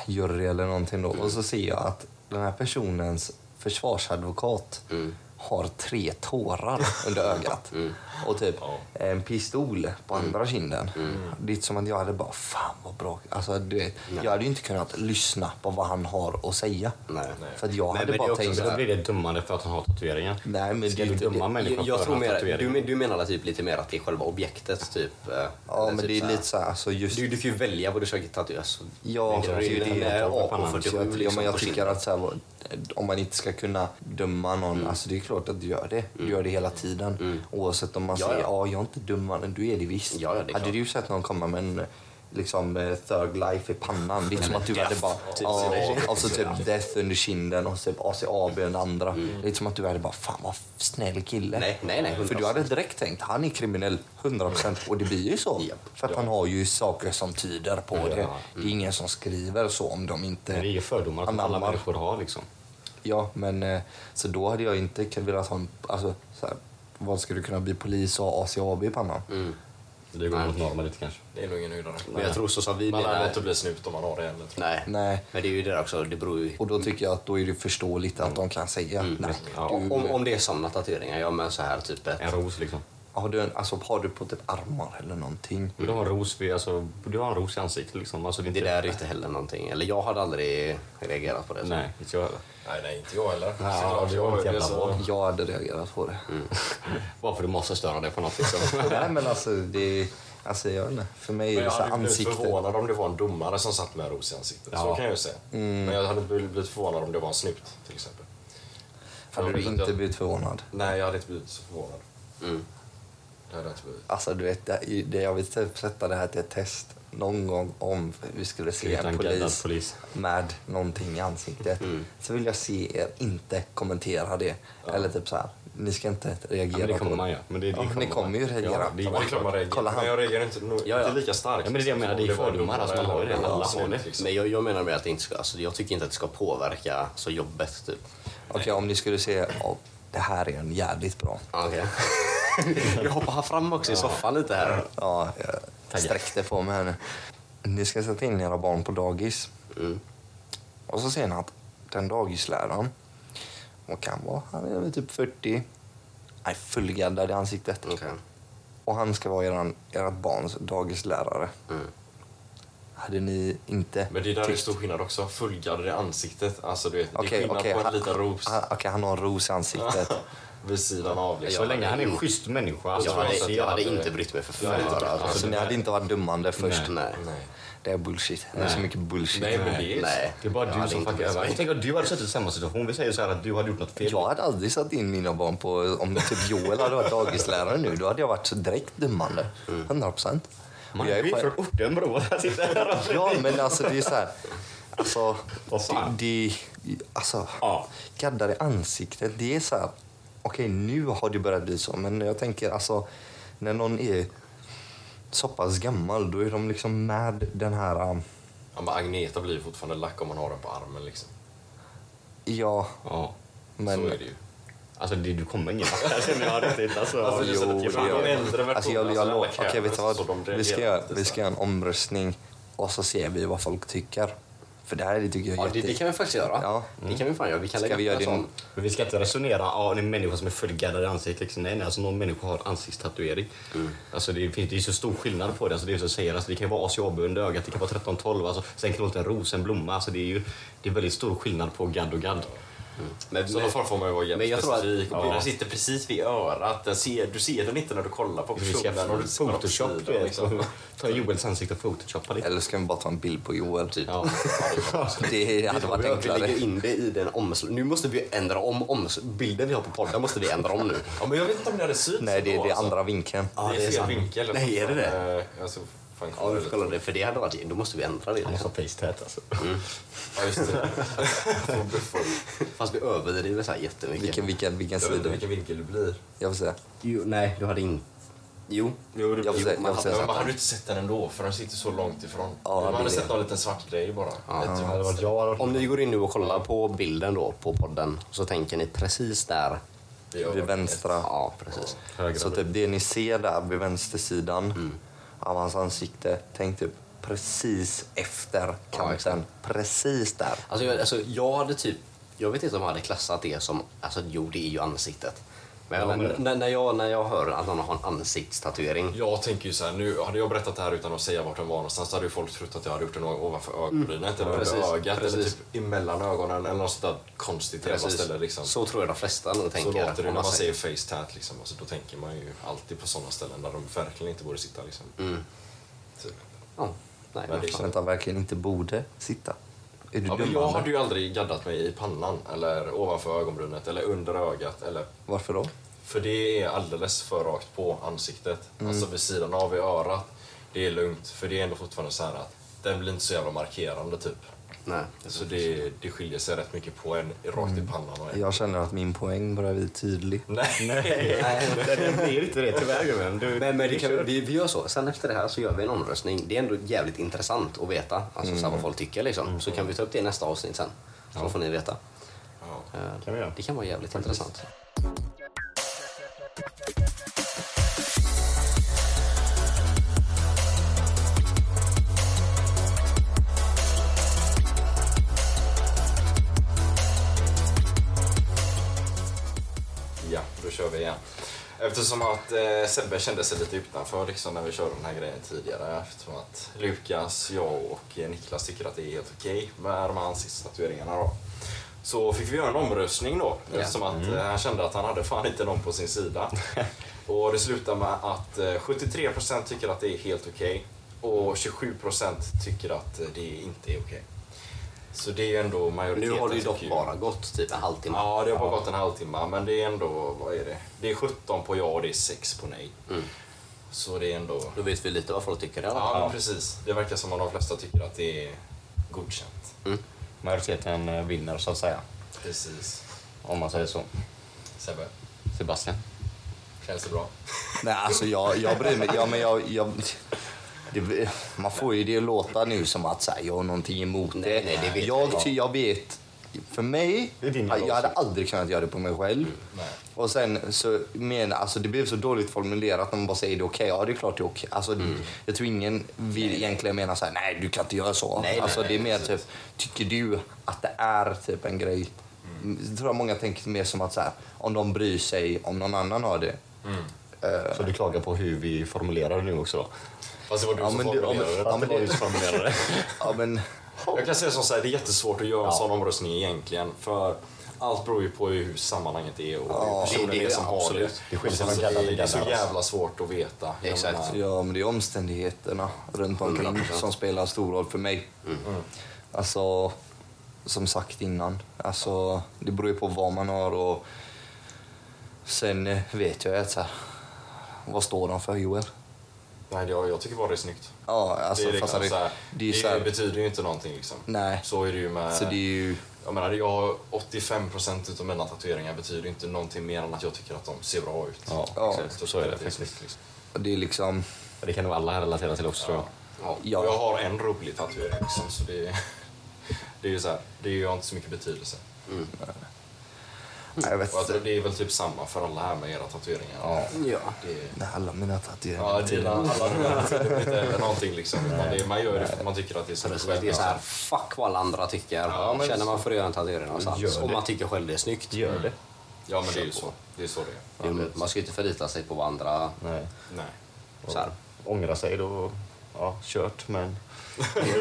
[SPEAKER 3] jury eller någonting då. Och så ser jag att den här personens försvarsadvokat har tre tårar under ögat. Och typ en pistol på andra kinden. Det är som att jag hade bara, fan vad bra. Alltså, du vet, jag hade ju inte kunnat lyssna på vad han har att säga.
[SPEAKER 1] Nej.
[SPEAKER 3] För att jag
[SPEAKER 1] Nej,
[SPEAKER 3] hade
[SPEAKER 1] men det är
[SPEAKER 3] bara
[SPEAKER 1] också så
[SPEAKER 3] tänkt så
[SPEAKER 1] här-
[SPEAKER 2] Då
[SPEAKER 3] här,
[SPEAKER 2] blir det dummande för att han har tatueringar.
[SPEAKER 3] Nej, men
[SPEAKER 2] Ska
[SPEAKER 3] det är
[SPEAKER 2] du
[SPEAKER 3] inte-
[SPEAKER 2] döma
[SPEAKER 3] jag-
[SPEAKER 2] människan
[SPEAKER 1] Jag,
[SPEAKER 2] för
[SPEAKER 1] jag
[SPEAKER 2] att
[SPEAKER 1] tror
[SPEAKER 2] han har
[SPEAKER 1] mer,
[SPEAKER 2] tatueringar?
[SPEAKER 1] du, men- du menar typ lite mer att det är själva objektet typ? eh,
[SPEAKER 3] Ja,
[SPEAKER 1] eller typ
[SPEAKER 3] men det är
[SPEAKER 1] så här-
[SPEAKER 3] lite så här, alltså just...
[SPEAKER 1] Du, du kan ju välja vad du ska tatuera. Alltså,
[SPEAKER 3] Ja,
[SPEAKER 1] det
[SPEAKER 3] det är ju det.
[SPEAKER 1] det är
[SPEAKER 3] Så
[SPEAKER 1] AK47
[SPEAKER 3] jag, ja, men
[SPEAKER 1] liksom. på Mm.
[SPEAKER 3] jag tycker
[SPEAKER 1] kinden.
[SPEAKER 3] att så här, om man inte ska kunna döma någon, alltså det är klart att du gör det. Du gör det hela tiden. Oavsett om
[SPEAKER 1] Mm.
[SPEAKER 3] man
[SPEAKER 1] Ja,
[SPEAKER 3] säger
[SPEAKER 1] ja.
[SPEAKER 3] ja, jag är inte dummare, du är det visst.
[SPEAKER 1] Ja, ja, det är
[SPEAKER 3] hade
[SPEAKER 1] klart.
[SPEAKER 3] du sett någon komma med en liksom eh, third life i pannan. Det är som att du hade bara...
[SPEAKER 1] typ.
[SPEAKER 3] Ja, och- och så typ death under kinden och så typ ACAB under andra. Det är som att du hade bara, fan vad snäll kille.
[SPEAKER 1] Mm. Nej, nej, nej,
[SPEAKER 3] För du
[SPEAKER 1] 100%.
[SPEAKER 3] hade direkt tänkt, han är kriminell 100% och det blir ju så.
[SPEAKER 1] Japp.
[SPEAKER 3] För att han har ju saker som tyder på det.
[SPEAKER 4] Mm.
[SPEAKER 3] Det är ingen som skriver så om de
[SPEAKER 2] Det är
[SPEAKER 3] inte...
[SPEAKER 2] ju fördomar som alla
[SPEAKER 3] Anammar.
[SPEAKER 2] människor har liksom.
[SPEAKER 3] Ja, men eh, så då hade jag inte kun- velat ha en... Alltså, så här, vad ska du kunna bli polis och ha ACAB i pannan?
[SPEAKER 4] Mm.
[SPEAKER 2] Det går mot normen lite kanske.
[SPEAKER 4] Det är nog ingen höjdare.
[SPEAKER 1] Men jag tror så som vi
[SPEAKER 4] Man lär
[SPEAKER 1] menar...
[SPEAKER 4] inte bli snut om man har det heller. tror jag.
[SPEAKER 1] Nej.
[SPEAKER 3] Nej.
[SPEAKER 1] men det är ju det där också, det beror ju...
[SPEAKER 3] Och då tycker jag att då är det förståeligt att
[SPEAKER 4] Mm.
[SPEAKER 3] de kan säga nej.
[SPEAKER 2] Ja.
[SPEAKER 3] Du,
[SPEAKER 1] Om, om det är sådana tatueringar, ja men så här typ ett...
[SPEAKER 2] En ros liksom.
[SPEAKER 3] har, du en, alltså, har du på typ armar eller någonting?
[SPEAKER 4] Mm.
[SPEAKER 2] Du har en ros, vid, alltså, du har en ros i ansiktet liksom. Alltså, det är
[SPEAKER 1] Det
[SPEAKER 2] inte...
[SPEAKER 1] där är ju inte heller någonting. Eller jag hade aldrig reagerat på det. typ.
[SPEAKER 2] Nej, inte jag heller.
[SPEAKER 4] Nej, nej, inte jag heller.
[SPEAKER 2] Ja,
[SPEAKER 4] Såklart,
[SPEAKER 2] det var
[SPEAKER 4] jag-
[SPEAKER 2] ett jävla
[SPEAKER 4] så-
[SPEAKER 2] val.
[SPEAKER 3] Jag hade reagerat på det.
[SPEAKER 4] Mm.
[SPEAKER 2] Bara för du måste störa dig på något liksom.
[SPEAKER 3] Nej men alltså, det, alltså jag vet inte. För mig är
[SPEAKER 4] Men
[SPEAKER 3] det
[SPEAKER 4] jag
[SPEAKER 3] så här
[SPEAKER 4] hade blivit
[SPEAKER 3] ansikte.
[SPEAKER 4] förvånad om det var en domare som satt med en ros i ansiktet. Så
[SPEAKER 2] Ja.
[SPEAKER 4] kan jag ju säga. Men jag hade inte blivit förvånad om det var en snut till exempel.
[SPEAKER 3] Hade
[SPEAKER 4] Jag
[SPEAKER 3] du
[SPEAKER 4] vet att
[SPEAKER 3] inte
[SPEAKER 4] jag-
[SPEAKER 3] blivit förvånad?
[SPEAKER 4] Nej, jag hade inte blivit så förvånad. Det hade jag inte blivit.
[SPEAKER 3] Alltså du vet, det, det, jag vill typ sätta det här till ett test. någon gång om vi skulle se
[SPEAKER 2] Utan
[SPEAKER 3] en
[SPEAKER 2] gaddad
[SPEAKER 3] polis,
[SPEAKER 2] polis. Mm.
[SPEAKER 3] med någonting i ansiktet så vill jag se er inte kommentera det. Eller typ så här, ni ska inte reagera
[SPEAKER 2] Ja, men det kommer
[SPEAKER 3] på
[SPEAKER 2] man ju. Men det- det
[SPEAKER 3] ja,
[SPEAKER 2] kommer
[SPEAKER 3] ni kommer ju
[SPEAKER 2] man.
[SPEAKER 3] reagera.
[SPEAKER 2] Ja, det-
[SPEAKER 4] Det är klart man reagerar.
[SPEAKER 3] Kolla han.
[SPEAKER 4] Men jag reagerar inte, nog,
[SPEAKER 2] Ja, ja.
[SPEAKER 4] inte lika starkt.
[SPEAKER 2] Ja, men det är det jag menar, det är
[SPEAKER 4] Som om var
[SPEAKER 2] fördomar, alltså, man har ju det.
[SPEAKER 4] ungdomar
[SPEAKER 2] Alla
[SPEAKER 4] eller
[SPEAKER 2] har det.
[SPEAKER 4] sånt, liksom.
[SPEAKER 1] Men jag, jag menar med att det inte ska, alltså, jag tycker inte att det ska påverka så jobbet typ.
[SPEAKER 3] Okej, om ni skulle se, "Ja, det här är en jävligt bra.
[SPEAKER 1] Ja, Okej. jag hoppar fram också i soffan lite här.
[SPEAKER 3] Ja, jag sträckte på mig här nu. Ni ska sätta in era barn på dagis.
[SPEAKER 1] Mm.
[SPEAKER 3] Och så ser ni att den dagisläraren, vad kan vara, han är väl typ 40, är fullgaddad i ansiktet.
[SPEAKER 4] Mm.
[SPEAKER 1] Okej.
[SPEAKER 3] Och han ska vara eran, ert barns dagislärare.
[SPEAKER 1] Mm.
[SPEAKER 3] Hade ni inte
[SPEAKER 4] Men det är där det är
[SPEAKER 3] tyckt-
[SPEAKER 4] stor skillnad också. Fullgaddad i ansiktet. Alltså du vet, det är
[SPEAKER 3] Okej,
[SPEAKER 4] skillnad
[SPEAKER 3] okej,
[SPEAKER 4] på en
[SPEAKER 3] han-
[SPEAKER 4] liten ros
[SPEAKER 3] Han, okej, han har en ros i ansiktet.
[SPEAKER 4] vid sidan av. Liksom.
[SPEAKER 2] Så länge han är en schysst människa. alltså,
[SPEAKER 1] Jag, hade,
[SPEAKER 2] alltså,
[SPEAKER 1] jag hade
[SPEAKER 2] hade-
[SPEAKER 1] inte brytt mig för
[SPEAKER 4] Jag
[SPEAKER 1] fem
[SPEAKER 4] hade inte
[SPEAKER 1] öre.
[SPEAKER 4] brytt mig.
[SPEAKER 1] Alltså,
[SPEAKER 3] så ni hade inte varit dummande först.
[SPEAKER 1] nej.
[SPEAKER 4] Nej.
[SPEAKER 3] Det är bullshit. Det är så mycket bullshit.
[SPEAKER 4] Nej, men det är...
[SPEAKER 1] Nej.
[SPEAKER 2] Det är bara
[SPEAKER 1] Jag
[SPEAKER 2] du
[SPEAKER 1] hade
[SPEAKER 2] som
[SPEAKER 1] inte
[SPEAKER 2] fuckar
[SPEAKER 1] brytt
[SPEAKER 2] över.
[SPEAKER 1] mig.
[SPEAKER 2] Jag tänker att du hade suttit i samma situation. Vi säger så här att du hade gjort något fel.
[SPEAKER 3] Jag hade aldrig satt in mina barn på... Om typ Joel hade varit dagislärare nu, då hade jag varit så direkt dummande. 100 procent.
[SPEAKER 2] Man är ju från orten bror. Jag sitter här och-
[SPEAKER 3] Ja, men alltså det är så här... Alltså,
[SPEAKER 2] Vad fan?
[SPEAKER 3] det... det alltså,
[SPEAKER 2] Ja.
[SPEAKER 3] gaddar i ansiktet. Det är så här... Okej, nu har det börjat bli så, men jag tänker alltså... När någon är så pass gammal, då är de liksom med den här... um,
[SPEAKER 4] Ja, men Agneta blir ju fortfarande lack om man har den på armen liksom.
[SPEAKER 3] Ja,
[SPEAKER 2] Ja.
[SPEAKER 3] men...
[SPEAKER 4] Så är det ju.
[SPEAKER 2] Alltså det, du kommer ingen vart. Jag känner jag riktigt. Alltså,
[SPEAKER 4] Alltså, det är så
[SPEAKER 2] jo,
[SPEAKER 4] att-
[SPEAKER 2] det
[SPEAKER 4] fan,
[SPEAKER 2] gör
[SPEAKER 4] de
[SPEAKER 2] jag.
[SPEAKER 4] äldre versionerna,
[SPEAKER 3] Alltså jag, jag
[SPEAKER 4] alltså,
[SPEAKER 3] lovar,
[SPEAKER 4] alla
[SPEAKER 3] okej vet du
[SPEAKER 4] kräver så
[SPEAKER 3] vad?
[SPEAKER 4] de
[SPEAKER 3] Vi ska,
[SPEAKER 4] reagerar
[SPEAKER 3] göra-
[SPEAKER 4] inte
[SPEAKER 3] vi
[SPEAKER 4] så
[SPEAKER 3] ska göra en omröstning och så ser vi vad folk tycker. För det här det tycker jag är
[SPEAKER 1] Ja, det, det kan vi faktiskt göra.
[SPEAKER 3] Ja.
[SPEAKER 1] Det kan vi fan göra. Vi kan
[SPEAKER 3] Ska
[SPEAKER 1] lägga
[SPEAKER 3] vi
[SPEAKER 1] upp
[SPEAKER 3] göra
[SPEAKER 1] en
[SPEAKER 3] det
[SPEAKER 1] sån.
[SPEAKER 2] Men vi ska inte resonera om en människa som är fullgaddad i ansiktet. Liksom. Nej, nej, alltså någon människa har ansiktstatuering.
[SPEAKER 4] Mm.
[SPEAKER 2] Alltså, det, finns, det är så stor skillnad på det. Alltså, det, är så att säga, alltså, det kan ju vara asjobb under ögat, det kan vara 13-12. Alltså, sen kan det vara en ros, en blomma. Alltså, det, är ju, det är väldigt stor skillnad på gadd och gadd.
[SPEAKER 1] Men,
[SPEAKER 4] Så då Mm. får får man ju vara
[SPEAKER 1] Men jag
[SPEAKER 4] jävligt
[SPEAKER 1] tror att-
[SPEAKER 4] specifik.
[SPEAKER 1] Ja.
[SPEAKER 4] Ja. Den sitter precis vid örat. Den ser, du ser den inte när du kollar på
[SPEAKER 2] Vi ska
[SPEAKER 4] personen. och du ser på
[SPEAKER 2] photoshop,
[SPEAKER 4] sidan,
[SPEAKER 2] du vet.
[SPEAKER 4] liksom.
[SPEAKER 2] Ta Joels ansikte och photoshoppa lite.
[SPEAKER 3] Eller ska vi bara ta en bild på Joel? Typ.
[SPEAKER 2] Ja.
[SPEAKER 3] Det hade varit
[SPEAKER 1] vi
[SPEAKER 3] enklare.
[SPEAKER 1] lägger in det i den omslag. Nu måste vi ändra om, oms- bilden vi har på podden måste vi ändra om nu.
[SPEAKER 4] Ja, men jag vet inte om det hade synts
[SPEAKER 3] Nej, det
[SPEAKER 4] ändå,
[SPEAKER 3] är det är
[SPEAKER 4] alltså.
[SPEAKER 3] andra vinkeln.
[SPEAKER 1] Ja,
[SPEAKER 4] det är fel
[SPEAKER 1] sant.
[SPEAKER 4] vinkel.
[SPEAKER 1] Nej, är det det?
[SPEAKER 4] Eh, Alltså, fan,
[SPEAKER 1] Ja,
[SPEAKER 4] kolla
[SPEAKER 1] vi
[SPEAKER 4] det
[SPEAKER 1] får
[SPEAKER 4] lite.
[SPEAKER 1] kolla det. För det hade varit... Då måste vi ändra det.
[SPEAKER 2] Han måste
[SPEAKER 1] Liksom.
[SPEAKER 2] ha facetät alltså.
[SPEAKER 4] Ja, just det. Får bli full.
[SPEAKER 1] Fast vi överdriver så här jättemycket.
[SPEAKER 3] Vilken, vilken, vilken
[SPEAKER 4] Jag vet inte
[SPEAKER 3] sida?
[SPEAKER 4] vilken vinkel det blir.
[SPEAKER 3] Jag får se.
[SPEAKER 1] Jo, nej, du hade inte... Jo.
[SPEAKER 4] Jo, det
[SPEAKER 3] Jag får
[SPEAKER 4] blir-
[SPEAKER 3] se- jag får se
[SPEAKER 4] men
[SPEAKER 3] sen.
[SPEAKER 4] man hade ju inte sett den ändå för den sitter så långt ifrån.
[SPEAKER 3] Ja,
[SPEAKER 4] man
[SPEAKER 3] det
[SPEAKER 4] hade
[SPEAKER 3] är
[SPEAKER 4] sett
[SPEAKER 3] det.
[SPEAKER 4] någon liten svart grej bara. Ett
[SPEAKER 2] Det
[SPEAKER 4] till
[SPEAKER 2] hade varit
[SPEAKER 4] vänster.
[SPEAKER 2] jag. hade varit-
[SPEAKER 1] Om ni går in nu och kollar på bilden då på podden så tänker ni precis där.
[SPEAKER 4] Det gör
[SPEAKER 3] Vid
[SPEAKER 4] man.
[SPEAKER 3] vänstra.
[SPEAKER 1] Ja, precis.
[SPEAKER 2] Högra
[SPEAKER 3] Så typ det ni ser där vid vänstersidan
[SPEAKER 4] Mm.
[SPEAKER 3] av hans ansikte, tänk typ precis efter kanten. Precis där.
[SPEAKER 1] Alltså jag, alltså, jag hade typ... Jag vet inte om jag hade klassat det som... Alltså, jo, det är ju ansiktet. Men,
[SPEAKER 2] Ja, men-
[SPEAKER 1] När, när, jag, när jag hör att någon har en ansiktstatuering.
[SPEAKER 4] Jag tänker ju så här, nu hade jag berättat det här utan att säga vart den var någonstans så hade ju folk trott att jag hade gjort den ovanför ögonbrynet eller
[SPEAKER 1] Mm. Precis,
[SPEAKER 4] under ögat eller
[SPEAKER 1] precis.
[SPEAKER 4] typ emellan ögonen eller något sånt där konstigt jävla ställe liksom. Så,
[SPEAKER 1] Så tror jag de flesta nog tänker.
[SPEAKER 4] låter det
[SPEAKER 1] om
[SPEAKER 4] när man
[SPEAKER 1] man
[SPEAKER 4] säger face tat liksom. Alltså, då tänker man ju alltid på sådana ställen där de verkligen inte borde sitta liksom.
[SPEAKER 1] Mm.
[SPEAKER 4] Typ.
[SPEAKER 1] Ja, nej,
[SPEAKER 4] Men det är
[SPEAKER 1] fan.
[SPEAKER 4] så-
[SPEAKER 3] Vänta, verkligen inte borde sitta. Är du
[SPEAKER 4] Ja, men jag
[SPEAKER 3] dummande?
[SPEAKER 4] hade ju aldrig gaddat mig i pannan eller ovanför ögonbrynet eller under ögat eller
[SPEAKER 3] Varför då?
[SPEAKER 4] För det är alldeles för rakt på ansiktet. Alltså vid sidan av i örat. Det är lugnt. För det är ändå fortfarande så här att den blir inte så jävla markerande typ.
[SPEAKER 1] nej.
[SPEAKER 4] Så det, det skiljer sig rätt mycket på en rakt i pannan och en.
[SPEAKER 3] Jag känner att min poäng börjar bli tydlig.
[SPEAKER 4] Nej.
[SPEAKER 2] Nej, det blir inte det tyvärr gubben. Du-
[SPEAKER 1] Men, men det
[SPEAKER 2] du
[SPEAKER 1] kan, vi, vi gör så. Sen efter det här så gör vi en omröstning. Det är ändå jävligt intressant att veta alltså, så här, vad folk tycker. Liksom. Så kan vi ta upp det i nästa avsnitt sen. Så får ni veta.
[SPEAKER 4] Ja.
[SPEAKER 1] Eh,
[SPEAKER 2] Kan vi göra.
[SPEAKER 1] Det kan vara jävligt intressant.
[SPEAKER 4] ja, då kör vi igen. Eftersom att eh, Sebbe kände sig lite utanför liksom, när vi körde den här grejen tidigare. Eftersom att Lukas, jag och eh, Niklas tycker att det är helt okej med de här ansiktstatueringarna då. Så fick vi göra en omröstning då eftersom att
[SPEAKER 1] Mm.
[SPEAKER 4] eh, han kände att han hade fan inte någon på sin sida. och det slutade med att eh, 73% tycker att det är helt okej och 27% tycker att eh, det inte är okej. Så det är ju ändå
[SPEAKER 1] Nu
[SPEAKER 4] majoriteten
[SPEAKER 1] har det ju
[SPEAKER 4] tycker
[SPEAKER 1] dock
[SPEAKER 4] ju-
[SPEAKER 1] bara gått typ en halvtimme.
[SPEAKER 4] Ja, det har bara gått en halvtimme, men det är ändå, vad är det? Det är 17 på ja och det är 6 på nej. Så det är ändå...
[SPEAKER 1] Då vet vi lite vad folk tycker i alla
[SPEAKER 4] Ja,
[SPEAKER 1] fall.
[SPEAKER 4] men precis. Det verkar som att de flesta tycker att det är godkänt.
[SPEAKER 2] Majoriteten eh, vinner så att säga,
[SPEAKER 4] Precis.
[SPEAKER 2] om man säger så.
[SPEAKER 4] Sebbe,
[SPEAKER 2] Sebastian?
[SPEAKER 4] känns det bra?
[SPEAKER 3] Nej, alltså jag, jag bryr mig. Ja, men jag, jag, det, man får ju det att låta nu som att så här, jag har någonting emot det.
[SPEAKER 1] Nej, nej, det vet
[SPEAKER 3] jag,
[SPEAKER 1] jag.
[SPEAKER 3] ty- jag vet, för mig,
[SPEAKER 2] Det är din
[SPEAKER 3] jag,
[SPEAKER 2] jävla
[SPEAKER 3] hade
[SPEAKER 2] åsikt.
[SPEAKER 3] aldrig kunnat göra det på mig själv.
[SPEAKER 4] Nej.
[SPEAKER 3] Och sen så menar, alltså det blev så dåligt formulerat när man bara säger det är okej. Ja, det är klart det är okej. Alltså,
[SPEAKER 1] Mm.
[SPEAKER 3] Jag tror ingen vill egentligen mena så här, nej du kan inte göra så.
[SPEAKER 1] Nej, nej,
[SPEAKER 3] alltså
[SPEAKER 1] nej,
[SPEAKER 3] det är mer
[SPEAKER 1] precis.
[SPEAKER 3] typ, tycker du att det är typ en grej?
[SPEAKER 1] Mm.
[SPEAKER 3] Jag tror att många tänker mer som att så här, om de bryr sig om någon annan har det.
[SPEAKER 2] Så du klagar på hur vi formulerar det nu också då?
[SPEAKER 4] Fast det var du
[SPEAKER 3] Ja,
[SPEAKER 4] som
[SPEAKER 3] men du-
[SPEAKER 4] formulerade det.
[SPEAKER 3] ja, men det-
[SPEAKER 2] formulerade det.
[SPEAKER 3] Ja, men,
[SPEAKER 4] Jag kan säga som så här, det är jättesvårt att göra en sån omröstning egentligen. För allt beror ju på hur sammanhanget är och hur personen
[SPEAKER 1] det- det-
[SPEAKER 4] är som har
[SPEAKER 1] absolut.
[SPEAKER 4] det.
[SPEAKER 2] Det skiljer sig
[SPEAKER 4] Alltså,
[SPEAKER 2] från gadda
[SPEAKER 4] det,
[SPEAKER 2] till
[SPEAKER 4] det är så
[SPEAKER 2] gadda, alltså.
[SPEAKER 4] jävla svårt att veta. Jag
[SPEAKER 1] Exakt.
[SPEAKER 4] menar,
[SPEAKER 3] ja, men det är omständigheterna runt omkring
[SPEAKER 1] 100%.
[SPEAKER 3] som spelar stor roll för mig.
[SPEAKER 4] Mm.
[SPEAKER 3] Alltså, som sagt innan, alltså, det beror ju på vad man har och sen eh, vet jag ju att så här, vad står de för Joel?
[SPEAKER 4] Nej, jag, jag tycker bara det är snyggt.
[SPEAKER 3] Ja, alltså,
[SPEAKER 4] det, är
[SPEAKER 3] fast
[SPEAKER 4] liksom
[SPEAKER 3] det,
[SPEAKER 4] så här,
[SPEAKER 3] det är ju så här,
[SPEAKER 4] betyder ju inte någonting liksom.
[SPEAKER 3] Nej.
[SPEAKER 4] Så är det ju med...
[SPEAKER 3] så det är ju,
[SPEAKER 4] Jag menar, jag har 85% utav mina tatueringar betyder inte någonting mer än att jag tycker att de ser bra ut.
[SPEAKER 2] Ja,
[SPEAKER 3] Ja.
[SPEAKER 2] exakt. Så är det
[SPEAKER 4] Det är snyggt,
[SPEAKER 2] faktiskt.
[SPEAKER 4] liksom.
[SPEAKER 3] det är liksom,
[SPEAKER 4] Mm.
[SPEAKER 2] Det kan nog alla relatera till också tror jag.
[SPEAKER 4] Ja.
[SPEAKER 3] Ja.
[SPEAKER 4] Jag har en rolig tatuering liksom, så det, det är ju så här, det är ju- har inte så mycket betydelse.
[SPEAKER 3] nej, jag vet
[SPEAKER 4] Och jag tror
[SPEAKER 3] inte,
[SPEAKER 4] det är väl typ samma för alla här med era tatueringar.
[SPEAKER 1] Ja.
[SPEAKER 4] Det är,
[SPEAKER 3] Nej, alla mina tatueringar.
[SPEAKER 4] ja, dina, alla dina betyder typ inte heller någonting liksom. utan Det, man gör det för att man tycker att det är så
[SPEAKER 1] Precis, det är så här, fuck vad alla andra tycker.
[SPEAKER 4] Ja, men-
[SPEAKER 1] Känner man för att göra en tatuering någonstans
[SPEAKER 2] Gör
[SPEAKER 1] och
[SPEAKER 2] det.
[SPEAKER 1] man tycker själv det är snyggt.
[SPEAKER 2] Gör det.
[SPEAKER 4] Ja, men det är ju så. Det är så det är.
[SPEAKER 1] Jo, men man ska ju inte förlita sig på vad andra...
[SPEAKER 2] Nej.
[SPEAKER 4] Nej.
[SPEAKER 1] Så här.
[SPEAKER 2] Ångra sig då, ja, kört men...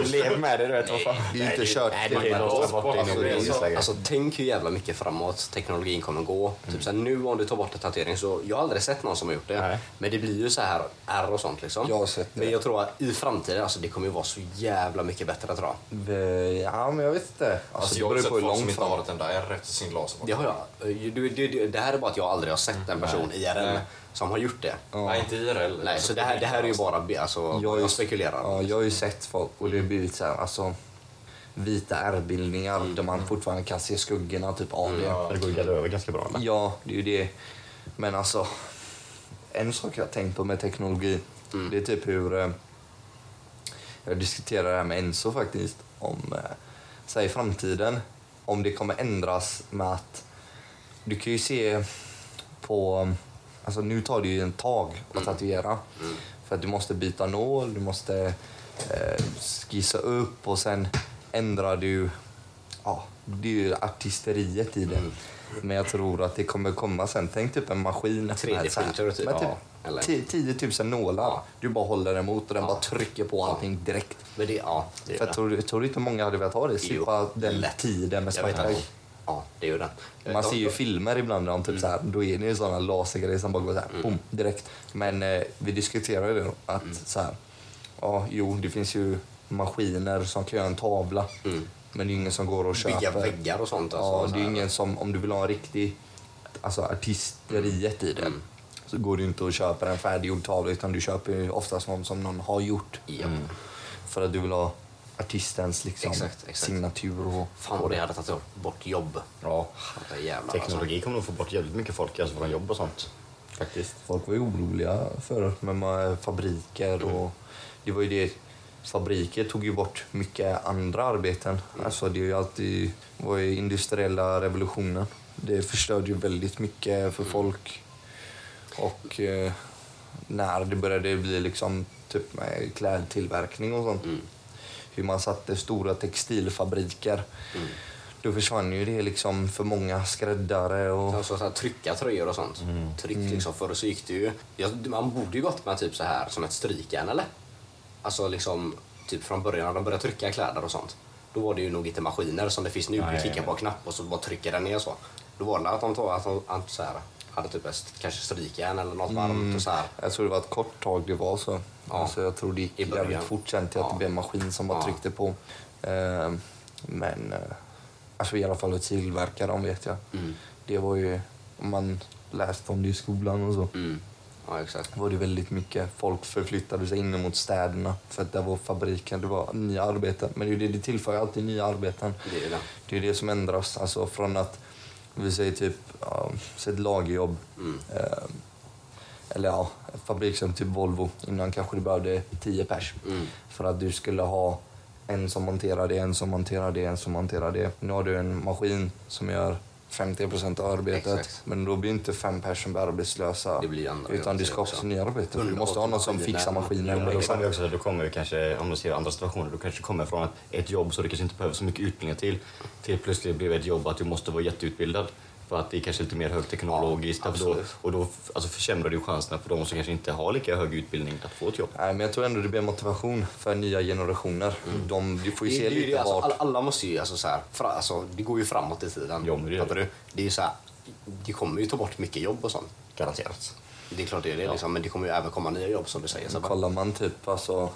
[SPEAKER 2] Lev med det du vet, vad fan.
[SPEAKER 3] Det är ju inte kört.
[SPEAKER 2] Nej, det är ju någonstans borta inom
[SPEAKER 1] Alltså, det är ju-
[SPEAKER 2] regeringsläget.
[SPEAKER 1] alltså, tänk hur jävla mycket framåt teknologin kommer gå.
[SPEAKER 3] Mm.
[SPEAKER 1] Typ så här, nu om du tar bort en tatuering, så jag har aldrig sett någon som har gjort det.
[SPEAKER 2] Nej.
[SPEAKER 1] Men det blir ju så här ärr och sånt liksom.
[SPEAKER 3] Jag har sett det.
[SPEAKER 1] Men jag tror att i framtiden, alltså det kommer ju vara så jävla mycket bättre tror jag.
[SPEAKER 3] Ja, men jag vet inte. Alltså,
[SPEAKER 4] Alltså,
[SPEAKER 3] det
[SPEAKER 4] jag har
[SPEAKER 3] beror ju
[SPEAKER 4] sett
[SPEAKER 3] på hur
[SPEAKER 4] folk som
[SPEAKER 3] långt
[SPEAKER 4] inte
[SPEAKER 3] fram.
[SPEAKER 4] har ett enda ärr efter sin laserbock.
[SPEAKER 1] Det har jag. eh, Du, du, du, det här är bara att jag aldrig har sett en person IRL som har gjort det.
[SPEAKER 4] Nej, inte IRL.
[SPEAKER 1] Nej, så det här, det här är ju bara... be- Alltså,
[SPEAKER 3] Jag har
[SPEAKER 1] jag,
[SPEAKER 3] ju-
[SPEAKER 1] spekulerar.
[SPEAKER 3] Ja, jag har ju sett folk och det har blivit så här, alltså vita ärrbildningar där man fortfarande kan se skuggorna typ av det.
[SPEAKER 2] Men det går ju gadda över ganska bra. eller?
[SPEAKER 3] Ja, det är ju det. Men alltså, en sak jag har tänkt på med teknologi, det är typ hur... eh, Jag diskuterade det här med Enzo faktiskt, om eh, så här, i framtiden, om det kommer ändras med att du kan ju se på... Alltså nu tar det ju en tag
[SPEAKER 1] Mm.
[SPEAKER 3] att tatuera. För att du måste byta nål, du måste eh, skissa upp och sen ändrar du... Ja, det är ju artisteriet i det.
[SPEAKER 1] Mm.
[SPEAKER 3] Men jag tror att det kommer komma sen. Tänk typ en maskin. med
[SPEAKER 1] 3D-printer
[SPEAKER 3] så
[SPEAKER 1] typ,
[SPEAKER 3] här- med
[SPEAKER 1] ja, eller?
[SPEAKER 3] typ 10 000 nålar. Du bara håller emot och den bara trycker på allting direkt.
[SPEAKER 1] Men det, ja, det är
[SPEAKER 3] För
[SPEAKER 1] det.
[SPEAKER 3] jag tror, tror du inte många hade velat ha det? Slippa den
[SPEAKER 1] lätt.
[SPEAKER 3] tiden med
[SPEAKER 1] Jag vet
[SPEAKER 3] svarta
[SPEAKER 1] att, ja, det är ju den.
[SPEAKER 3] man ser ju filmer ibland om typ så här, då är det ju sådana lasergrejer som bara går så här,
[SPEAKER 1] Mm.
[SPEAKER 3] boom, direkt. Men eh, vi diskuterar ju det då, att så här, ja, jo, det finns ju maskiner som kan göra en tavla. Men det är ju ingen som går och köper.
[SPEAKER 1] Mm. Bygga väggar och sånt. Alltså, så
[SPEAKER 3] Ja, det är
[SPEAKER 1] här.
[SPEAKER 3] ju ingen som, om du vill ha en riktig, alltså artisteriet i det,
[SPEAKER 1] Mm.
[SPEAKER 3] så går det ju inte att köpa en färdiggjord tavla utan du köper ju oftast någon som någon har gjort. Mm.
[SPEAKER 1] Ja.
[SPEAKER 3] För att du vill ha artistens liksom,
[SPEAKER 1] Exakt, exakt.
[SPEAKER 3] signatur och...
[SPEAKER 1] Fan vad det hade tagit bort jobb.
[SPEAKER 2] Ja.
[SPEAKER 1] Fattar jävlar
[SPEAKER 2] Teknologi kommer nog få bort jävligt mycket folk alltså från jobb och sånt. Faktiskt.
[SPEAKER 3] Folk var ju oroliga för med ma- fabriker och det var ju det. Fabriker tog ju bort mycket andra arbeten. Alltså det är ju alltid, var ju industriella revolutionen. Det förstörde ju väldigt mycket för folk. Och eh, när det började bli liksom typ med klädtillverkning och sånt. Hur man satte stora textilfabriker. Då försvann ju det liksom för många skräddare och...
[SPEAKER 1] Alltså, så här, trycka tröjor och sånt. Tryck liksom. Förr så gick det ju... Ja, man borde ju gått med typ så här som ett strykjärn eller? Alltså liksom typ från början när de började trycka kläder och sånt. Då var det ju nog inte maskiner som det finns nu.
[SPEAKER 2] Nej,
[SPEAKER 1] du klickar
[SPEAKER 2] nej.
[SPEAKER 1] på en knapp och så bara trycker den ner så. Då var det att de, tog, att de att så här, hade typ ett kanske strykjärn eller något varmt och så här.
[SPEAKER 3] Jag tror det var ett kort tag det var så.
[SPEAKER 1] Ja.
[SPEAKER 3] Alltså jag tror det gick
[SPEAKER 1] I början.
[SPEAKER 3] jävligt fort sen till att
[SPEAKER 1] Ja.
[SPEAKER 3] det blev en maskin som bara
[SPEAKER 1] Ja.
[SPEAKER 3] tryckte på. Eh, men eh, alltså i alla fall att
[SPEAKER 1] Mm.
[SPEAKER 3] tillverka dem vet jag. Det var ju, man läste om det i skolan och så.
[SPEAKER 1] Mm. Ja, Ja, exakt.
[SPEAKER 3] var det väldigt mycket folk förflyttade sig in mot städerna för att där var fabriken, det var nya arbeten. Men det, är ju det, det tillför ju alltid nya arbeten.
[SPEAKER 1] Det är ju det.
[SPEAKER 3] Det är ju det som ändras. Alltså från att vi säger typ, ja, säg ett lagerjobb.
[SPEAKER 1] Mm.
[SPEAKER 3] Eh, eller ja, en fabrik som typ Volvo. Innan kanske du behövde 10 pers.
[SPEAKER 1] Mm.
[SPEAKER 3] För att du skulle ha en som monterar det, en som monterar det, en som monterar det. Nu har du en maskin som gör 50 av arbetet.
[SPEAKER 1] Exakt.
[SPEAKER 3] Men då blir inte fem personer arbetslösa.
[SPEAKER 1] Det blir andra
[SPEAKER 3] utan det
[SPEAKER 1] jobb
[SPEAKER 3] ska också
[SPEAKER 1] också.
[SPEAKER 3] nya arbeten. Du måste ha någon som fixar maskinen.
[SPEAKER 2] Men
[SPEAKER 3] eller
[SPEAKER 2] då
[SPEAKER 3] så.
[SPEAKER 2] kommer vi också, då kommer vi kanske, om du ser andra situationer, då kanske det kommer från att ett jobb så du kanske inte behöver så mycket utbildning till, till plötsligt blev ett jobb att du måste vara jätteutbildad. För att det är kanske lite mer högteknologiskt.
[SPEAKER 1] Ja,
[SPEAKER 2] och då,
[SPEAKER 1] absolut.
[SPEAKER 2] och då alltså försämrar du chanserna för de som kanske inte har lika hög utbildning att få ett jobb.
[SPEAKER 3] Nej, men jag tror ändå det blir motivation för nya generationer. De, du får ju se
[SPEAKER 1] Mm. det, är ju
[SPEAKER 3] lite
[SPEAKER 1] det, alltså,
[SPEAKER 3] vart...
[SPEAKER 1] alla, alla måste ju, alltså, så här, fra, alltså, det går ju framåt i tiden.
[SPEAKER 2] Ja, men det gör
[SPEAKER 1] Fattar
[SPEAKER 2] det.
[SPEAKER 1] du? Det är ju så här, det kommer ju ta bort mycket jobb och sånt. Garanterat. Det är klart det är det, liksom, men det kommer ju även komma nya jobb som du säger. Så bara,
[SPEAKER 3] Kollar man typ alltså...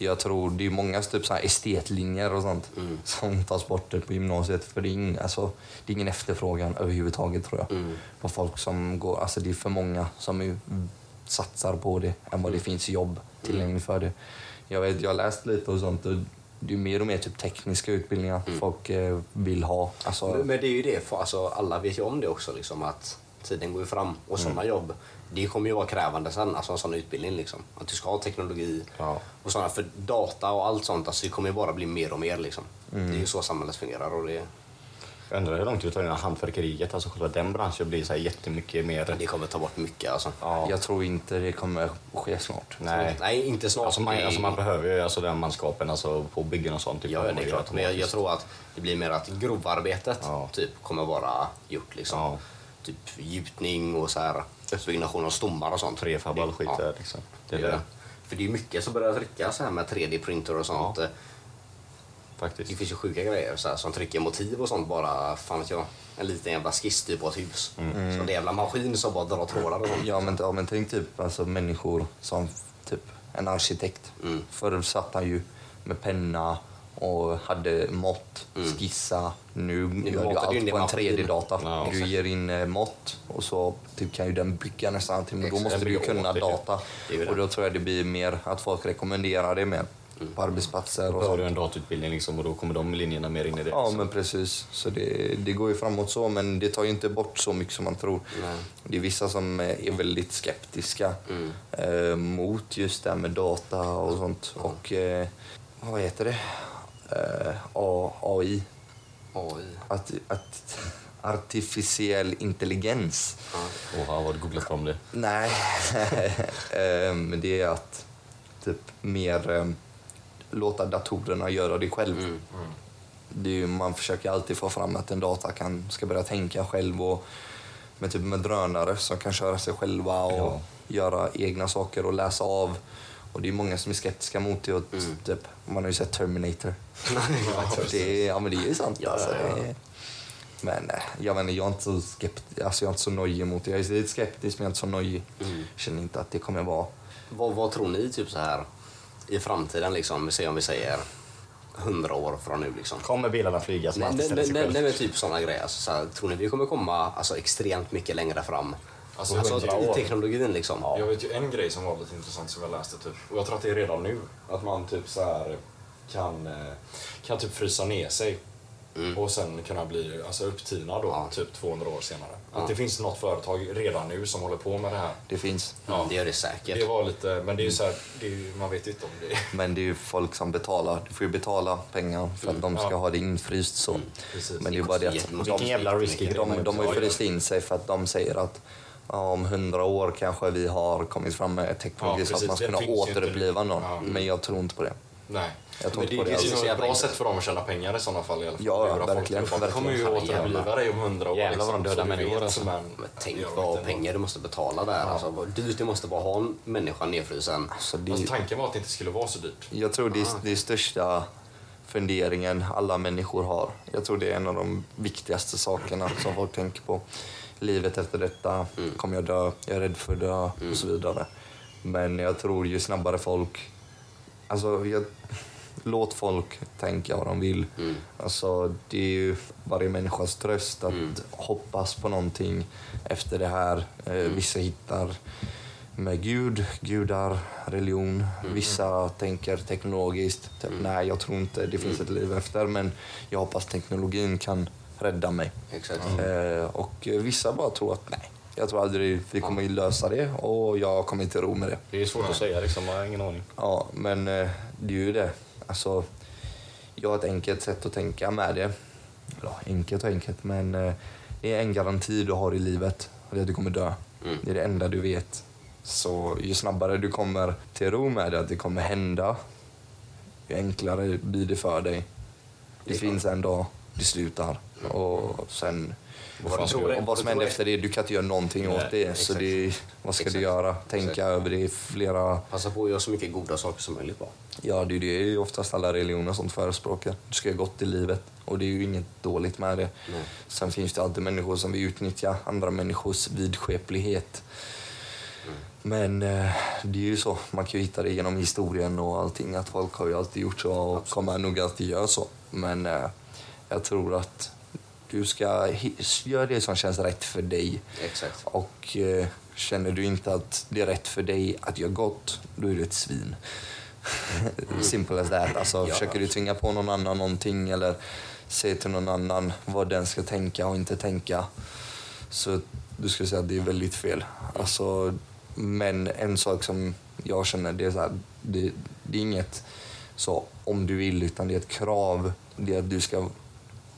[SPEAKER 3] Jag tror det är många typ så här estetlinjer och sånt som tas bort typ på gymnasiet. För det är, ingen, alltså, det är ingen efterfrågan överhuvudtaget tror jag. På folk som går, alltså det är för många som ju satsar på det än vad det finns jobb tillgängligt för det. Jag, vet, jag har läst lite och sånt och det är mer och mer typ tekniska utbildningar folk eh, vill ha. Alltså,
[SPEAKER 1] men, men det är ju det, för, alltså, alla vet ju om det också, liksom, att tiden går ju fram och
[SPEAKER 2] Mm.
[SPEAKER 1] sådana jobb, det kommer ju vara krävande sen, alltså en sån utbildning. Liksom. Att du ska ha teknologi
[SPEAKER 2] Ja.
[SPEAKER 1] och sådana, för data och allt sånt, alltså, det kommer ju bara bli mer och mer. Liksom.
[SPEAKER 2] Mm.
[SPEAKER 1] Det är ju så samhället fungerar. Och det,
[SPEAKER 2] Jag undrar hur långt det tar innan hantverkeriet, alltså själva den branschen, blir så här jättemycket mer...
[SPEAKER 1] det kommer ta bort mycket. Alltså.
[SPEAKER 3] Jag tror inte det kommer ske snart.
[SPEAKER 2] Nej.
[SPEAKER 1] Nej, inte snart.
[SPEAKER 2] Alltså man,
[SPEAKER 1] Det är-
[SPEAKER 2] alltså man behöver ju alltså den manskapen alltså på byggen och sånt. Typ,
[SPEAKER 1] Ja,
[SPEAKER 2] man
[SPEAKER 1] det är
[SPEAKER 2] gör
[SPEAKER 1] klart. Men jag, jag
[SPEAKER 2] automatiskt.
[SPEAKER 1] tror att det blir mer att grovarbetet
[SPEAKER 2] Ja.
[SPEAKER 1] typ, kommer vara gjort. Liksom.
[SPEAKER 2] Ja.
[SPEAKER 1] Typ gjutning och så här, uppbyggnation av stommar och sånt.
[SPEAKER 2] Prefab och all skit
[SPEAKER 1] Ja,
[SPEAKER 2] där liksom.
[SPEAKER 1] det är det. För det är mycket som börjar trycka så här med 3D-printer och sånt. Det
[SPEAKER 2] Faktiskt.
[SPEAKER 1] finns ju sjuka grejer så här, som trycker motiv och sånt bara, fan vet jag, en liten jävla skiss typ på ett hus. Så en jävla maskin som bara drar trådar och sånt.
[SPEAKER 3] Ja men, ja, men tänk typ alltså, människor som f- typ en arkitekt.
[SPEAKER 1] Mm.
[SPEAKER 3] Förr satt han ju med penna och hade mått, skissa. Nu, gör
[SPEAKER 1] Mm. matar
[SPEAKER 3] du
[SPEAKER 1] du in
[SPEAKER 3] allt
[SPEAKER 1] det
[SPEAKER 3] på
[SPEAKER 1] i
[SPEAKER 3] en
[SPEAKER 1] maskin.
[SPEAKER 3] 3D-data.
[SPEAKER 2] Ja,
[SPEAKER 3] du
[SPEAKER 1] exakt.
[SPEAKER 3] ger in eh, mått och så typ, kan ju den bygga nästan allting. Men då
[SPEAKER 1] Exakt,
[SPEAKER 3] måste
[SPEAKER 2] den
[SPEAKER 3] du ju
[SPEAKER 2] bygger
[SPEAKER 3] kunna
[SPEAKER 2] åt dig.
[SPEAKER 3] data.
[SPEAKER 1] typ. Det är ju det. Mm.
[SPEAKER 3] Och då tror jag det blir mer att folk rekommenderar det mer på arbetsplatser och
[SPEAKER 2] Då har
[SPEAKER 3] sånt.
[SPEAKER 2] du en datautbildning liksom och då kommer de linjerna mer in i det.
[SPEAKER 3] Ja,
[SPEAKER 2] liksom.
[SPEAKER 3] men precis. Så det, det går ju framåt så, men det tar ju inte bort så mycket som man tror. Det är vissa som är väldigt skeptiska eh, mot just det här med data och sånt. Och eh, vad heter det? Eh, A- AI.
[SPEAKER 1] Oj.
[SPEAKER 3] Att, att, artificiell intelligens.
[SPEAKER 2] Oha, vad du googlat fram det.
[SPEAKER 3] Nej, Eh, men det är att typ mer eh, låta datorerna göra det själv. Mm. Det är ju, man försöker alltid få fram att en data kan, ska börja tänka själv och med, typ med drönare som kan köra sig själva och
[SPEAKER 2] Ja.
[SPEAKER 3] göra egna saker och läsa av. Och det är många som är skeptiska mot det. Och typ, man har ju sett Terminator. det, är- ja, men det är ju sant. alltså. Det är- men eh, jag, menar, jag, är inte så skept, alltså, jag är inte så nojig mot det. Jag är lite skeptisk men jag är inte så nojig.
[SPEAKER 4] Mm.
[SPEAKER 3] känner inte att det kommer vara...
[SPEAKER 1] Vad, vad tror ni typ så här i framtiden liksom, vi säger om vi säger 100 år från nu liksom?
[SPEAKER 2] Kommer bilarna flyga som
[SPEAKER 1] Nej,
[SPEAKER 2] alltid
[SPEAKER 1] nej, nej,
[SPEAKER 2] ställer sig
[SPEAKER 1] nej,
[SPEAKER 2] själv?
[SPEAKER 1] nej men typ sådana grejer. Alltså, så här, tror ni vi kommer komma alltså, extremt mycket längre fram?
[SPEAKER 4] Alltså,
[SPEAKER 1] Alltså, i
[SPEAKER 4] 100 år.
[SPEAKER 1] teknologin liksom.
[SPEAKER 4] Jag vet ju en grej som var lite intressant som jag läste typ. Och jag tror att det är redan nu. Att man typ så här kan, eh, kan typ frysa ner sig. Och sen kunna bli alltså, upptinad då, typ 200 år senare. Att det finns något företag redan nu som håller på med det här.
[SPEAKER 3] Det finns.
[SPEAKER 1] Mm, Det gör det säkert.
[SPEAKER 4] Det var lite, men det är ju så här, det är ju, man vet ju inte om det är...
[SPEAKER 3] Men det är ju folk som betalar. Du får ju betala pengar för att de ska
[SPEAKER 4] Mm, Ja. Mm,
[SPEAKER 3] ha det infryst så.
[SPEAKER 4] precis.
[SPEAKER 3] Men det är bara det att
[SPEAKER 1] Jättemycket.
[SPEAKER 2] Vilken jävla risky grej.
[SPEAKER 3] de, de har ju
[SPEAKER 2] Ja,
[SPEAKER 3] fryst in sig för att de säger att ja, om hundra år kanske vi har kommit fram med teknologi
[SPEAKER 4] Ja,
[SPEAKER 3] så att
[SPEAKER 4] precis.
[SPEAKER 3] man ska
[SPEAKER 4] Det
[SPEAKER 3] kunna
[SPEAKER 4] finns ju inte.
[SPEAKER 3] återuppliva någon.
[SPEAKER 4] Ja.
[SPEAKER 3] Men jag tror inte på det.
[SPEAKER 4] Nej.
[SPEAKER 3] Jag tror
[SPEAKER 4] Men
[SPEAKER 3] inte
[SPEAKER 4] det,
[SPEAKER 3] på
[SPEAKER 4] det,
[SPEAKER 3] det
[SPEAKER 4] är
[SPEAKER 3] alls.
[SPEAKER 4] ju
[SPEAKER 1] Så
[SPEAKER 4] ett
[SPEAKER 1] jävla
[SPEAKER 4] bra
[SPEAKER 1] intressant.
[SPEAKER 4] sätt för dem att tjäna pengar i sådana fall i alla fall.
[SPEAKER 3] Ja, ja,
[SPEAKER 4] Lura folk
[SPEAKER 3] verkligen,
[SPEAKER 4] till det. De
[SPEAKER 3] verkligen.
[SPEAKER 4] kommer ju
[SPEAKER 1] Fan, jävlar.
[SPEAKER 4] återuppliva dig om hundra år.
[SPEAKER 2] Jävlar vad de
[SPEAKER 4] liksom,
[SPEAKER 2] dödar
[SPEAKER 4] så du
[SPEAKER 2] människor,
[SPEAKER 4] vet,
[SPEAKER 2] alltså.
[SPEAKER 4] men-
[SPEAKER 1] Men
[SPEAKER 4] jag
[SPEAKER 1] tänk
[SPEAKER 4] vet
[SPEAKER 1] vad
[SPEAKER 4] inte.
[SPEAKER 1] pengar du måste betala där. Alltså, vad dyrt det måste vara att ha en människa nedfrusen.
[SPEAKER 3] Så det,
[SPEAKER 4] Alltså, tanken var att det inte skulle vara så dyrt.
[SPEAKER 3] Jag tror det är det är största funderingen alla människor har. Jag tror det är en av de viktigaste sakerna som folk tänker på. Livet efter detta, kommer jag dö, jag är rädd för att dö och så vidare. Men jag tror ju snabbare folk... Alltså, jag, låt folk tänka vad de vill. Alltså, det är ju varje människas tröst att hoppas på någonting efter det här. Eh, Vissa hittar med Gud, gudar, religion. Vissa tänker teknologiskt. Typ, Nej, jag tror inte det finns ett liv efter men jag hoppas teknologin kan rädda mig.
[SPEAKER 1] Exakt.
[SPEAKER 2] Mm.
[SPEAKER 3] Eh, och eh, vissa bara tror att nej, jag tror aldrig vi kommer att lösa det och jag kommer inte ro med det.
[SPEAKER 2] Det är svårt att säga liksom, jag har ingen aning.
[SPEAKER 3] Ja, men eh, det är ju det. Alltså, jag har ett enkelt sätt att tänka med det. Ja, enkelt och enkelt, men eh, det är en garanti du har i livet och det är att du kommer dö.
[SPEAKER 1] Mm.
[SPEAKER 3] Det är det enda du vet. Så ju snabbare du kommer till ro med det, att det kommer hända, ju enklare blir det för dig. Det finns en dag, det slutar och sen...
[SPEAKER 1] Mm. Vad du tror är-
[SPEAKER 3] och vad som händer
[SPEAKER 1] tror är-
[SPEAKER 3] efter det, du kan inte göra någonting
[SPEAKER 2] Nej,
[SPEAKER 3] åt det. Så
[SPEAKER 1] exakt.
[SPEAKER 3] det, vad ska du
[SPEAKER 1] Exakt.
[SPEAKER 3] göra? Tänka
[SPEAKER 1] Exakt.
[SPEAKER 3] över det i flera
[SPEAKER 1] Passa på att göra så mycket goda saker som möjligt bara.
[SPEAKER 3] Ja, det är ju det oftast alla religioner som förespråkar. Du ska göra gott i livet och det är ju inget dåligt med det.
[SPEAKER 1] Nej.
[SPEAKER 3] Sen finns det alltid människor som vill utnyttja andra människors vidskeplighet. Men eh, det är ju så, man kan ju hitta det genom historien och allting att folk har ju alltid gjort så och kommer nog alltid göra så. Men eh, jag tror att du ska hi- göra det som känns rätt för dig.
[SPEAKER 1] Exakt.
[SPEAKER 3] Och eh, känner du inte att det är rätt för dig att göra gott, då är du ett svin. Simple as that. Alltså,
[SPEAKER 1] Ja.
[SPEAKER 3] Försöker du tvinga på någon annan någonting eller säga till någon annan vad den ska tänka och inte tänka, så du skulle säga att det är väldigt fel. Alltså, men en sak som jag känner, det är, så här, det, det är inget så om du vill, utan det är ett krav. Det är att du ska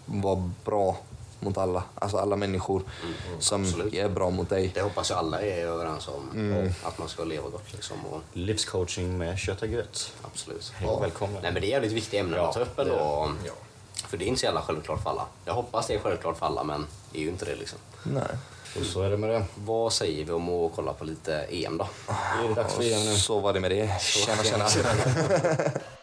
[SPEAKER 3] vara bra mot alla, alltså alla människor som
[SPEAKER 1] Mm, absolut.
[SPEAKER 3] är bra mot dig.
[SPEAKER 1] Det hoppas jag alla är överens om.
[SPEAKER 2] Mm.
[SPEAKER 1] Att man ska leva gott liksom. Och,
[SPEAKER 2] Livscoaching med kött och gött.
[SPEAKER 1] absolut.
[SPEAKER 2] Hej och välkomna.
[SPEAKER 1] Nej men det är jävligt viktiga ämnen
[SPEAKER 2] Ja,
[SPEAKER 1] att ta upp ändå.
[SPEAKER 2] det-
[SPEAKER 1] Och- För det är inte så jävla självklart för alla. Jag hoppas det är självklart för alla men det är ju inte det liksom.
[SPEAKER 3] Nej.
[SPEAKER 2] Och så är det med det.
[SPEAKER 1] Vad säger vi om att kolla på lite EM då?
[SPEAKER 2] Det är dags för
[SPEAKER 3] Och
[SPEAKER 2] igen nu.
[SPEAKER 3] så var det med det. Tjena, tjena.
[SPEAKER 1] tjena.